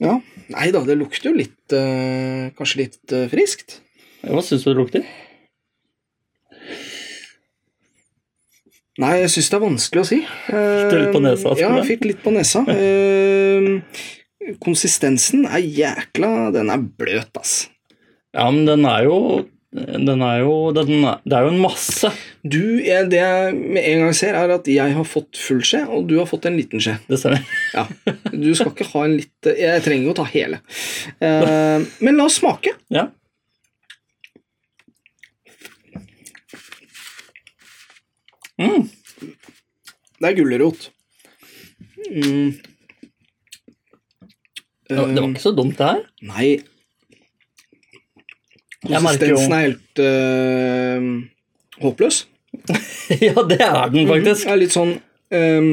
A: Ja. Nei da, det lukter jo litt eh, Kanskje litt eh, friskt.
B: Hva syns du det lukter?
A: Nei, jeg syns det er vanskelig å si. Fikk
B: du litt på nesa, Aspen,
A: Ja,
B: da?
A: jeg fikk litt på nesa. Eh, Konsistensen er jækla Den er bløt, ass.
B: Ja, men den er jo den er jo, den er, Det er jo en masse.
A: Du, jeg, Det jeg med en gang ser, er at jeg har fått full skje, og du har fått en liten skje.
B: Det stemmer.
A: Ja, Du skal ikke ha en litt Jeg trenger jo å ta hele. Eh, men la oss smake.
B: Ja. Mm.
A: Det er gulrot. Mm. Eh,
B: Det var det var ikke så dumt, det her.
A: Nei.
B: Jeg merker jo-
A: Konsistensen er helt eh, håpløs.
B: (laughs) ja, det er den Mm-hmm. faktisk.
A: Det er litt sånn ehm,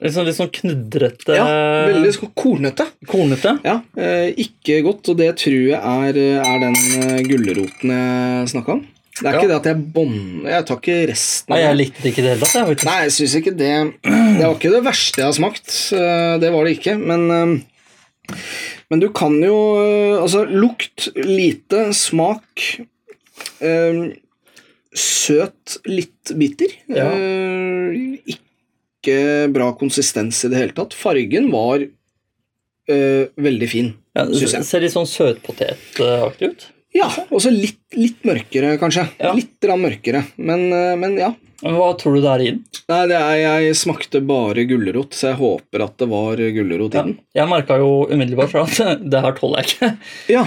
B: Litt sånn, litt sånn knudrete,
A: Ja, veldig sånn kornete.
B: kornete.
A: Ja, eh, Ikke godt, og det tror jeg er, er den eh, gulroten jeg snakka om. Det er
B: Ja.
A: ikke det at jeg bånd... Jeg tar ikke resten
B: Nei, jeg
A: av det.
B: likte det ikke i det hele tatt. jeg, faktisk.
A: Nei, jeg syns ikke det Det var ikke det verste jeg har smakt. eh, Det var det ikke, men eh, Men du kan jo eh, Altså, lukt lite, smak eh, Søt, litt bitter.
B: Ja.
A: Eh, Ikke bra konsistens i det hele tatt. Fargen var eh, veldig fin,
B: Ja,
A: syns
B: det
A: jeg.
B: ser litt sånn søtpotetaktig ut.
A: Ja, og så litt, litt mørkere, kanskje.
B: Ja.
A: Litt grann mørkere, men, eh, men ja.
B: Men hva tror du det er i den?
A: Nei, det er, jeg smakte bare gulrot, så jeg håper at det var gulrot i den.
B: Jeg merka jo umiddelbart at (laughs) det her tåler jeg ikke. (laughs)
A: Ja.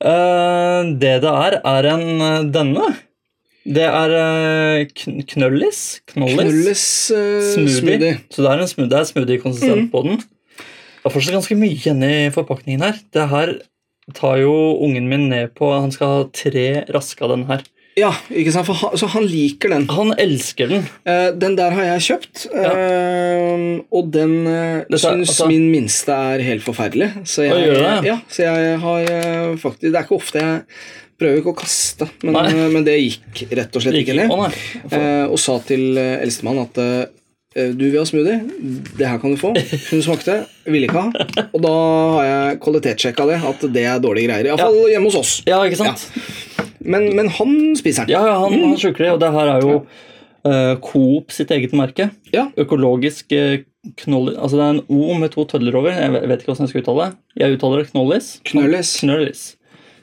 B: Eh, det det er, er en eh, denne. Det er eh, kn knøllis. Knollis.
A: Knulles eh,
B: Smoothie.
A: smoothie. Mm.
B: Så det er en smoothie, det er smoothie-konsistent på den. Det er fortsatt ganske mye igjen i forpakningen her. Det her tar jo ungen min ned på Han skal ha tre raske av den her.
A: Ja, ikke sant? For han, så han liker den.
B: Han elsker den.
A: Eh, den der har jeg kjøpt, eh, og den uh,
B: Dette er-
A: syns
B: altså-
A: min minste er helt forferdelig. Så jeg,
B: Å, gjør det?
A: ja, så jeg har eh, faktisk Det er ikke ofte jeg prøver ikke å kaste, men,
B: Nei.
A: eh, men det gikk rett og slett ikke ned.
B: Å, nei. For-
A: Eh, og sa til eh, eldstemann at eh, du vil ha smoothie, det her kan du få. Hun smakte, ville ikke ha. Og da har jeg kvalitetssjekka det, at det er dårlige greier. Iallfall fall hjemme hos oss.
B: Ja, ikke sant?
A: Men, men han spiser den.
B: Ja, ja han,
A: Mm.
B: han sluker det, og det her er jo eh, Coop sitt eget merke.
A: Ja.
B: Økologisk eh, knolli... Altså det er en O med to tøller over. Jeg vet vet ikke hvordan jeg skal uttale det. Jeg uttaler det knollis.
A: Knøllis.
B: Knøllis.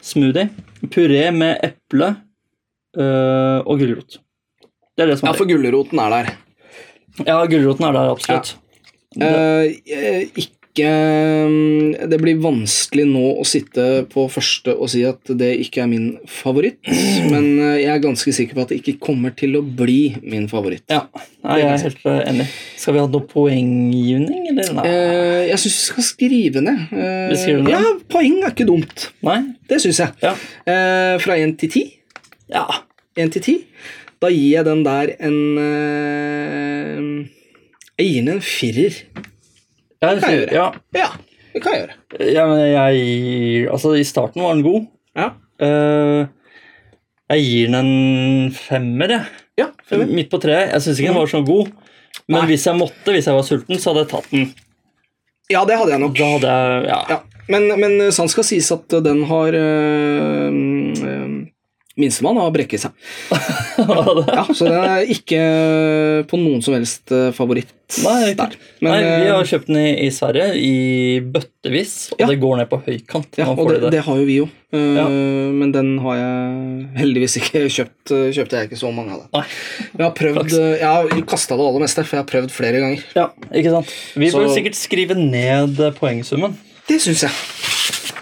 B: Smoothie. Puré med eple eh, og gulrot. Det er det som
A: Ja,
B: er
A: for gulroten er der.
B: det. Ja, gulroten er der, absolutt.
A: Eh, eh, ikke mm, Det blir vanskelig nå å sitte på første og si at det ikke er min favoritt, men eh, jeg er ganske sikker på at det ikke kommer til å bli min favoritt.
B: Ja, Nei, jeg er helt eh, enig. Skal vi ha noe poenggivning, eller? Nei.
A: Eh, jeg syns vi skal skrive ned. Eh,
B: Vi skriver ned.
A: Ja, poeng er ikke dumt.
B: Nei?
A: Det syns jeg.
B: Ja.
A: Eh, fra én til ti.
B: ja.
A: Én til ti. Da gir jeg den der en eh, Jeg gir den en firer.
B: Jeg,
A: kan jeg gjøre.
B: ja.
A: Ja, det kan jeg gjøre.
B: ja, men jeg Altså, i starten var den god.
A: Ja.
B: Eh, jeg gir den en femmer, jeg.
A: Ja, femmer. Mm.
B: Midt på treet. Jeg syns ikke den var så god. Men
A: Nei.
B: hvis jeg måtte, hvis jeg var sulten, så hadde jeg tatt den.
A: ja, det hadde jeg nok.
B: Da hadde jeg, ja. (laughs)
A: Ja, men, men eh, sant skal sies at eh, den har øh, Minstemann har brekket seg. Ja, Så den er ikke på noen som helst eh, favoritt
B: Nei, ikke.
A: der. Men,
B: Nei, vi
A: eh,
B: har kjøpt den i, i Sverige i bøttevis, og
A: Ja.
B: det går ned på høykant.
A: ja,
B: når man
A: og
B: får
A: det,
B: i det.
A: det har jo vi jo. Eh,
B: Ja.
A: Men den har jeg heldigvis ikke kjøpt. eh, Kjøpte jeg ikke så mange av det.
B: Nei.
A: Jeg har prøvd, eh, jeg har kasta det aller meste, for jeg har prøvd flere ganger.
B: Ja, ikke sant? Vi
A: Så-
B: bør sikkert skrive ned eh, poengsummen.
A: Det syns jeg.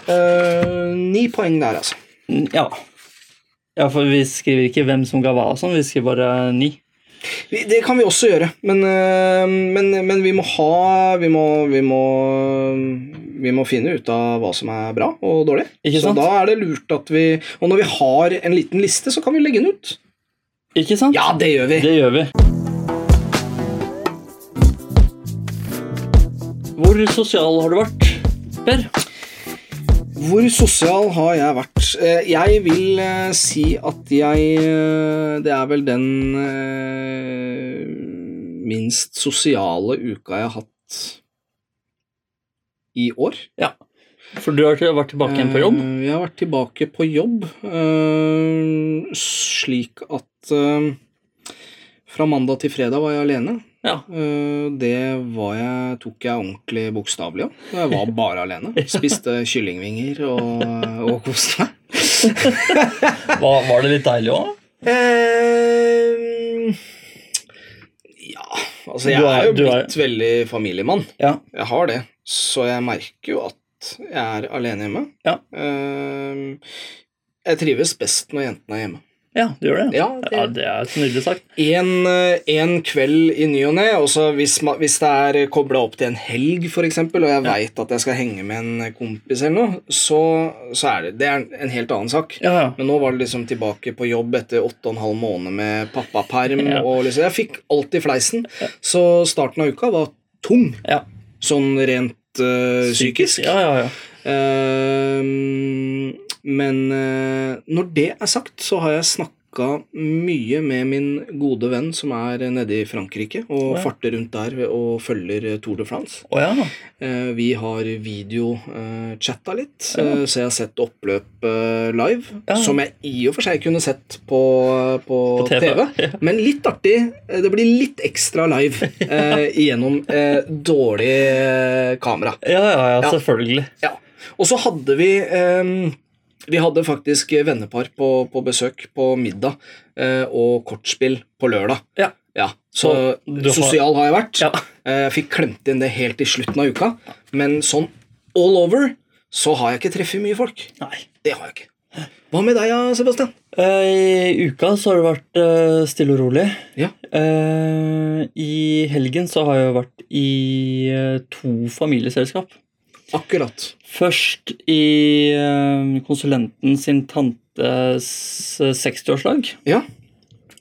A: Eh, ni poeng der, altså.
B: N- Ja. ja, for vi skriver ikke hvem som ga hva og sånn, vi skriver bare ni.
A: Vi, det kan vi også gjøre, men, øh, men, men vi må ha vi må, vi, må, vi må finne ut av hva som er bra og dårlig.
B: Ikke
A: så
B: sant?
A: da er det lurt at vi Og når vi har en liten liste, så kan vi legge den ut.
B: Ikke sant?
A: Ja, det gjør vi!
B: Det gjør vi. Hvor sosial har du vært, Per?
A: Hvor sosial har jeg vært? Eh, Jeg vil eh, si at jeg eh, Det er vel den eh, minst sosiale uka jeg har hatt i år.
B: For du har til- vært tilbake igjen på jobb?
A: Eh, Jeg har vært tilbake på jobb, eh, slik at eh, fra mandag til fredag var jeg alene.
B: (laughs) Ja.
A: Eh, Det var jeg, tok jeg ordentlig bokstavelig om. Jeg var bare alene.
B: (laughs)
A: Spiste kyllingvinger og, eh, og koste meg.
B: Var, var det litt deilig òg?
A: Eh, ja Altså, jeg
B: Du er-
A: er jo
B: du er-
A: blitt veldig familiemann.
B: Ja.
A: Jeg har det. Så jeg merker jo at jeg er alene hjemme.
B: Ja.
A: Ehm, jeg trives best når jentene er hjemme.
B: ja, du gjør det?
A: Ja,
B: Ja,
A: det
B: det er så nydelig sagt.
A: en, eh, en kveld i ny og ne, og så hvis, ma- hvis det er kobla opp til en helg, f.eks., og jeg vet veit at jeg skal henge med en kompis eller noe, så, så er det, det er en helt annen sak.
B: Ja, ja.
A: Men nå var det liksom tilbake på jobb etter åtte og en halv måned med pappaperm.
B: Ja.
A: Og liksom, jeg fikk alt i fleisen. Så starten av uka var tung,
B: Ja.
A: sånn rent eh, psykisk.
B: Ja, ja, ja.
A: Ehm, men eh, når det er sagt, så har jeg snakka mye med min gode venn som er nede i Frankrike og
B: Ja.
A: farter rundt der og følger Tour de France.
B: Å ja.
A: Eh, Vi har videochatta litt, eh, så jeg har sett oppløp eh, live.
B: Ja.
A: Som jeg i og for seg kunne sett på, på,
B: På TV,
A: TV.
B: (laughs)
A: Men litt artig. eh, Det blir litt ekstra live
B: (laughs)
A: eh, gjennom eh, dårlig eh, kamera.
B: Ja, ja, ja,
A: Ja.
B: selvfølgelig.
A: Ja. Og så hadde vi eh, Vi hadde faktisk vennepar på, på besøk på middag eh, og kortspill på lørdag.
B: Ja.
A: Så
B: Og du har-
A: sosial har jeg vært.
B: Ja.
A: Eh, Jeg fikk klemt inn det helt i slutten av uka, men sånn all over så har jeg ikke treffet mye folk.
B: Nei.
A: Det har jeg ikke. Hva med deg, ja, Sebastian?
B: Eh, I uka så har det vært eh, stille og rolig.
A: Ja.
B: Eh, I helgen så har jeg vært i eh, to familieselskap.
A: Akkurat.
B: Først i eh, konsulenten sin tante jentes 60-årslag.
A: Ja.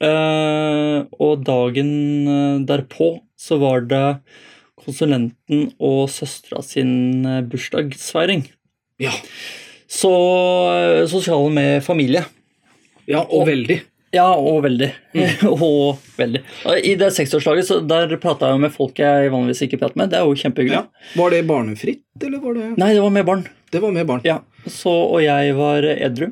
B: Eh, og dagen eh, derpå så var det konsulenten og søstera sin eh, bursdagsfeiring.
A: Ja.
B: Så eh, sosiale med familie.
A: ja, og
B: Og-
A: veldig.
B: Ja, og veldig. (laughs) og veldig. Og I det seksårslaget så der prata jeg jo med folk jeg vanligvis ikke prater med. Det er jo kjempehyggelig.
A: Ja. Var det barnefritt, eller var det
B: Nei, det var med barn.
A: Det var med barn.
B: Ja. Så, og jeg var edru.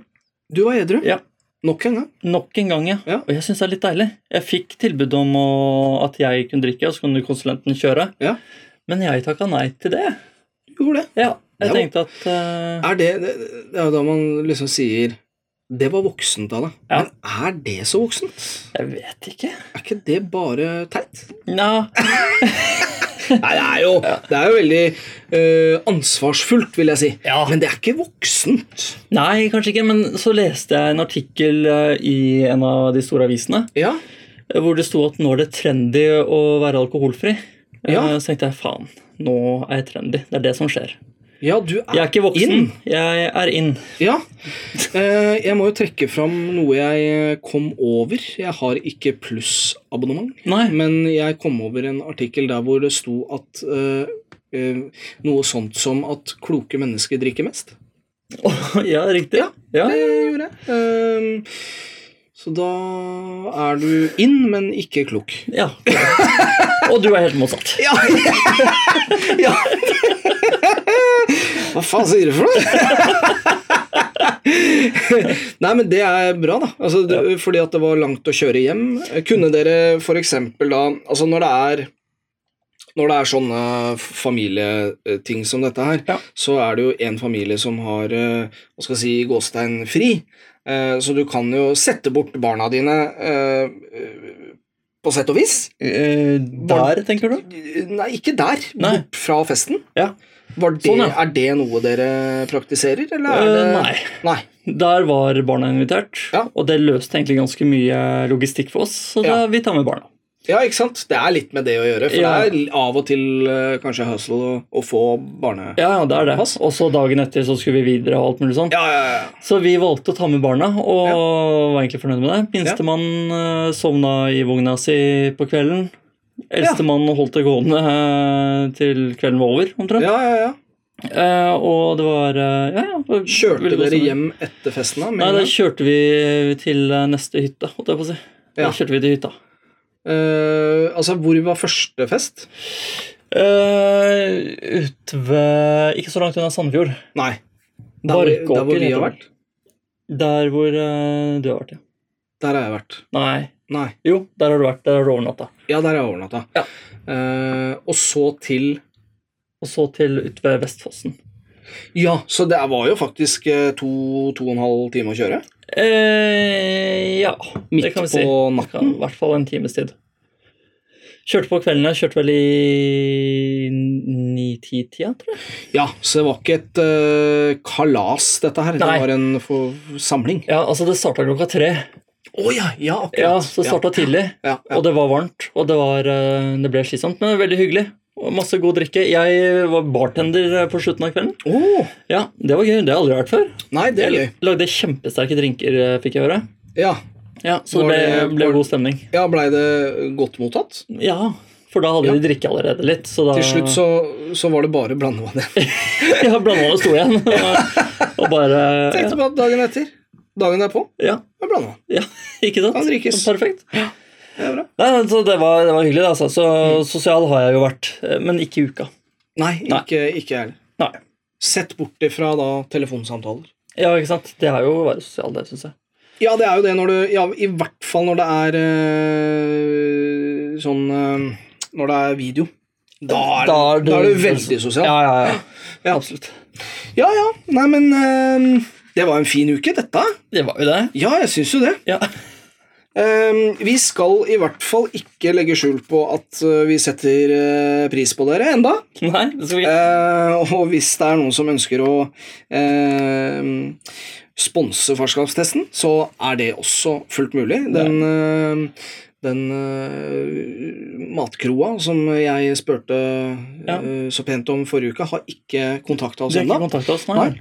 A: Du var edru.
B: Ja.
A: Nok en gang.
B: Nok en gang, ja.
A: Ja.
B: Og jeg syns det er litt deilig. Jeg fikk tilbud om å, at jeg kunne drikke, og så kunne konsulenten kjøre.
A: Ja.
B: Men jeg takka nei til det.
A: Gjorde det.
B: Ja, jeg
A: Ja.
B: tenkte at eh,
A: Er det, det det er jo da man liksom sier Det var voksent av deg.
B: Ja.
A: Men er det så voksent?
B: Jeg vet ikke.
A: Er ikke det bare teit?
B: Nja,
A: Nei, det er jo, det er jo veldig eh, ansvarsfullt, vil jeg si.
B: Ja.
A: Men det er ikke voksent.
B: nei, kanskje ikke. Men så leste jeg en artikkel eh, i en av de store avisene
A: Ja.
B: eh, hvor det sto at nå er det trendy å være alkoholfri. Eh,
A: Ja.
B: Så tenkte jeg faen, nå er jeg trendy. Det er det som skjer.
A: ja, du er,
B: Jeg er ikke voksen,
A: inn.
B: jeg er inn.
A: Ja. Eh, jeg må jo trekke fram noe jeg eh, kom over. Jeg har ikke plussabonnement,
B: Nei. (laughs)
A: men jeg kom over en artikkel der hvor det sto at eh, eh, noe sånt som at kloke mennesker drikker mest.
B: ja, riktig.
A: Ja.
B: ja.
A: Det gjorde jeg. Ehm, så da er du inn, men ikke klok. (laughs)
B: Ja. Og du er helt motsatt.
A: Ja. ja. Hva faen sier du for
B: (laughs)
A: noe? Nei, men det er bra, da. Altså, det, Fordi at det var langt å kjøre hjem. Kunne dere f.eks. da Altså, når det er når det er sånne familieting som dette her,
B: Ja.
A: så er det jo en familie som har eh, hva skal jeg si, gåstein fri. Eh, Så du kan jo sette bort barna dine eh, eh, på sett og vis. Eh,
B: der, tenker du?
A: Nei, ikke der.
B: Nei.
A: Bort fra festen.
B: Ja.
A: Var det,
B: Sånn, ja.
A: Er det noe dere praktiserer, eller er det
B: Eh, nei.
A: Nei.
B: Der var barna invitert,
A: Ja.
B: og det løste egentlig ganske mye logistikk for oss, så
A: Ja.
B: da vi tar med barna.
A: Ja, ikke sant? Det er litt med det å gjøre. For
B: Ja.
A: det er av og til eh, kanskje hustle å, å få barne...
B: Ja, ja, det er det.
A: Pass.
B: Og så dagen etter så skulle vi videre og alt mulig sånn.
A: Ja, ja, ja.
B: Så vi valgte å ta med barna, og var egentlig fornøyd med det. Minstemann eh, sovna i vogna si på kvelden. Eldstemann holdt det gående eh, til kvelden var over, omtrent.
A: ja, ja, ja.
B: Eh, og det var eh, ja, ja,
A: Kjørte
B: veldig god
A: dere
B: stemning.
A: hjem etter festen, da?
B: Nei,
A: med
B: da
A: en gang?
B: kjørte vi til eh, neste hytte, holdt jeg på å si. Da
A: Ja.
B: kjørte vi til hytta.
A: Eh, altså, hvor var første fest?
B: Eh, ut ved Ikke så langt unna Sandefjord.
A: Nei. Der, hvor- der hvor vi har vært?
B: Der hvor eh, du har vært, ja.
A: Der har jeg vært.
B: Nei.
A: Nei.
B: Jo, der har du vært. Der har du overnatta.
A: Ja, der har jeg overnatta.
B: Ja.
A: Eh, og så til
B: Og så til ut ved Vestfossen.
A: Ja, så det var jo faktisk eh, to, to og en halv time å kjøre.
B: Eh, ja, det
A: Midt
B: kan
A: på
B: vi si. Det kan,
A: natten.
B: I hvert fall en times tid. Kjørte på kvelden, jeg kjørte vel i ni-ti-tida, tror jeg.
A: Ja, så det var ikke et eh, kalas, dette her.
B: Nei.
A: Det var en for samling.
B: Ja, altså Det starta klokka tre,
A: Å ja, ja, akkurat.
B: ja, så det starta tidlig.
A: Ja, ja,
B: Og det var varmt, og det, var, eh, det ble slitsomt, men veldig hyggelig. Og masse god drikke. Jeg var bartender eh, på slutten av kvelden.
A: ja. Åh,
B: Ja, Det var gøy. Det har jeg aldri vært før.
A: nei, det er gøy.
B: Jeg lagde kjempesterke drinker, eh, fikk jeg høre.
A: Ja,
B: Ja, Så
A: Var
B: det
A: det-
B: ble, ble
A: var-
B: god stemning.
A: ja blei det godt mottatt?
B: Ja, for da hadde
A: Ja.
B: de drikke allerede litt. Så da
A: Til slutt så, så var det bare blandevann igjen.
B: (laughs) Ja, blandevannet sto
A: (laughs)
B: igjen. Og, og bare
A: Tenkte på at dagen etter. Dagen derpå
B: Ja,
A: er blandevann.
B: ja, ikke sant?
A: Kan drikkes.
B: Perfekt.
A: Det er bra. Mm.
B: Nei, så det var, det var hyggelig, da. Altså. Så sosial har jeg jo vært, eh, men ikke i uka.
A: Nei,
B: Nei.
A: ikke ikke jeg heller.
B: Nei.
A: Sett bort ifra da telefonsamtaler.
B: Ja, ikke sant? Det er jo å være sosial, det syns jeg.
A: Ja, det er jo det når du Ja, i hvert fall når det er øh, sånn øh, Når det er video. Da er, da er, du, veldig sosial.
B: Ja,
A: Ja,
B: ja, ja.
A: Ja.
B: Absolutt.
A: ja. Nei, men øh, Det var en fin uke, dette.
B: Det var jo det.
A: Ja, jeg syns jo det.
B: Ja.
A: Ehm, vi skal i hvert fall ikke legge skjul på at øh, vi setter øh, pris på dere enda.
B: Nei, det skal vi
A: Eh, og hvis det er noen som ønsker å eh, sponse farskapstesten, så er det også fullt mulig. Den, eh, den eh, matkroa som jeg spurte
B: Ja.
A: eh, så pent om forrige uke, har ikke kontakta oss
B: De har ikke
A: ennå.
B: kontakta oss, nei.
A: Nei.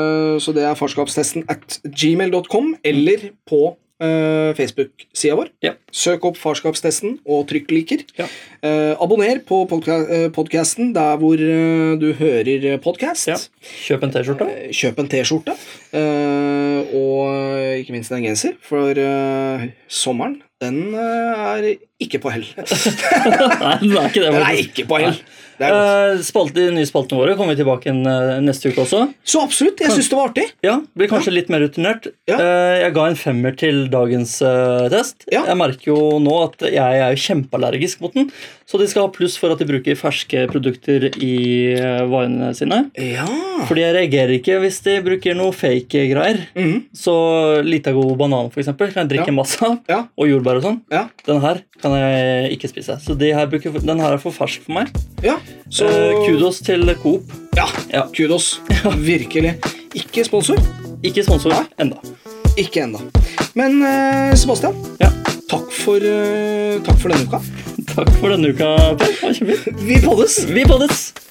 A: Eh, så det er farskapstesten at gmail.com eller på eh, Facebook-sida vår.
B: Ja.
A: Søk opp Farskapstesten og trykk 'liker'.
B: Ja.
A: Eh, abonner på podka podkasten der hvor eh, du hører podkast.
B: Ja. Kjøp en T-skjorte.
A: Eh, Kjøp en T-skjorte, eh, og ikke minst en genser, for eh, sommeren den eh, er ikke på
B: (laughs)
A: hell.
B: (laughs) Nei, det er ikke det.
A: Den er
B: faktisk.
A: ikke på hell! Det er godt.
B: Eh, Spalte, de nye spaltene våre kommer vi tilbake igjen eh, neste uke også.
A: Så absolutt, jeg syns det var artig.
B: Ja, Blir kanskje litt mer rutinert.
A: Ja.
B: Eh, Jeg ga en femmer til dagens eh, test.
A: Ja.
B: Jeg merker jo nå at jeg er jo kjempeallergisk mot den, så de skal ha pluss for at de bruker ferske produkter i eh, varene sine.
A: Ja.
B: Fordi jeg reagerer ikke hvis de bruker noe fake greier.
A: Mhm.
B: Så Litago banan for eksempel, kan jeg drikke
A: Ja.
B: masse av,
A: Ja.
B: og jordbær og sånn.
A: Ja.
B: Den her kan jeg ikke spise. Så de her bruker, den her er for fersk for meg.
A: ja. Så
B: Eh, kudos til Coop.
A: Ja,
B: Ja.
A: kudos. Virkelig. Ikke sponsor.
B: Ikke sponsor
A: Nei.
B: enda.
A: Ikke ennå. Men eh, Sebastian,
B: Ja.
A: takk for, eh, takk for denne uka.
B: Takk for denne uka, Per. Det var kjempefint.
A: Vi poddes!
B: Vi poddes!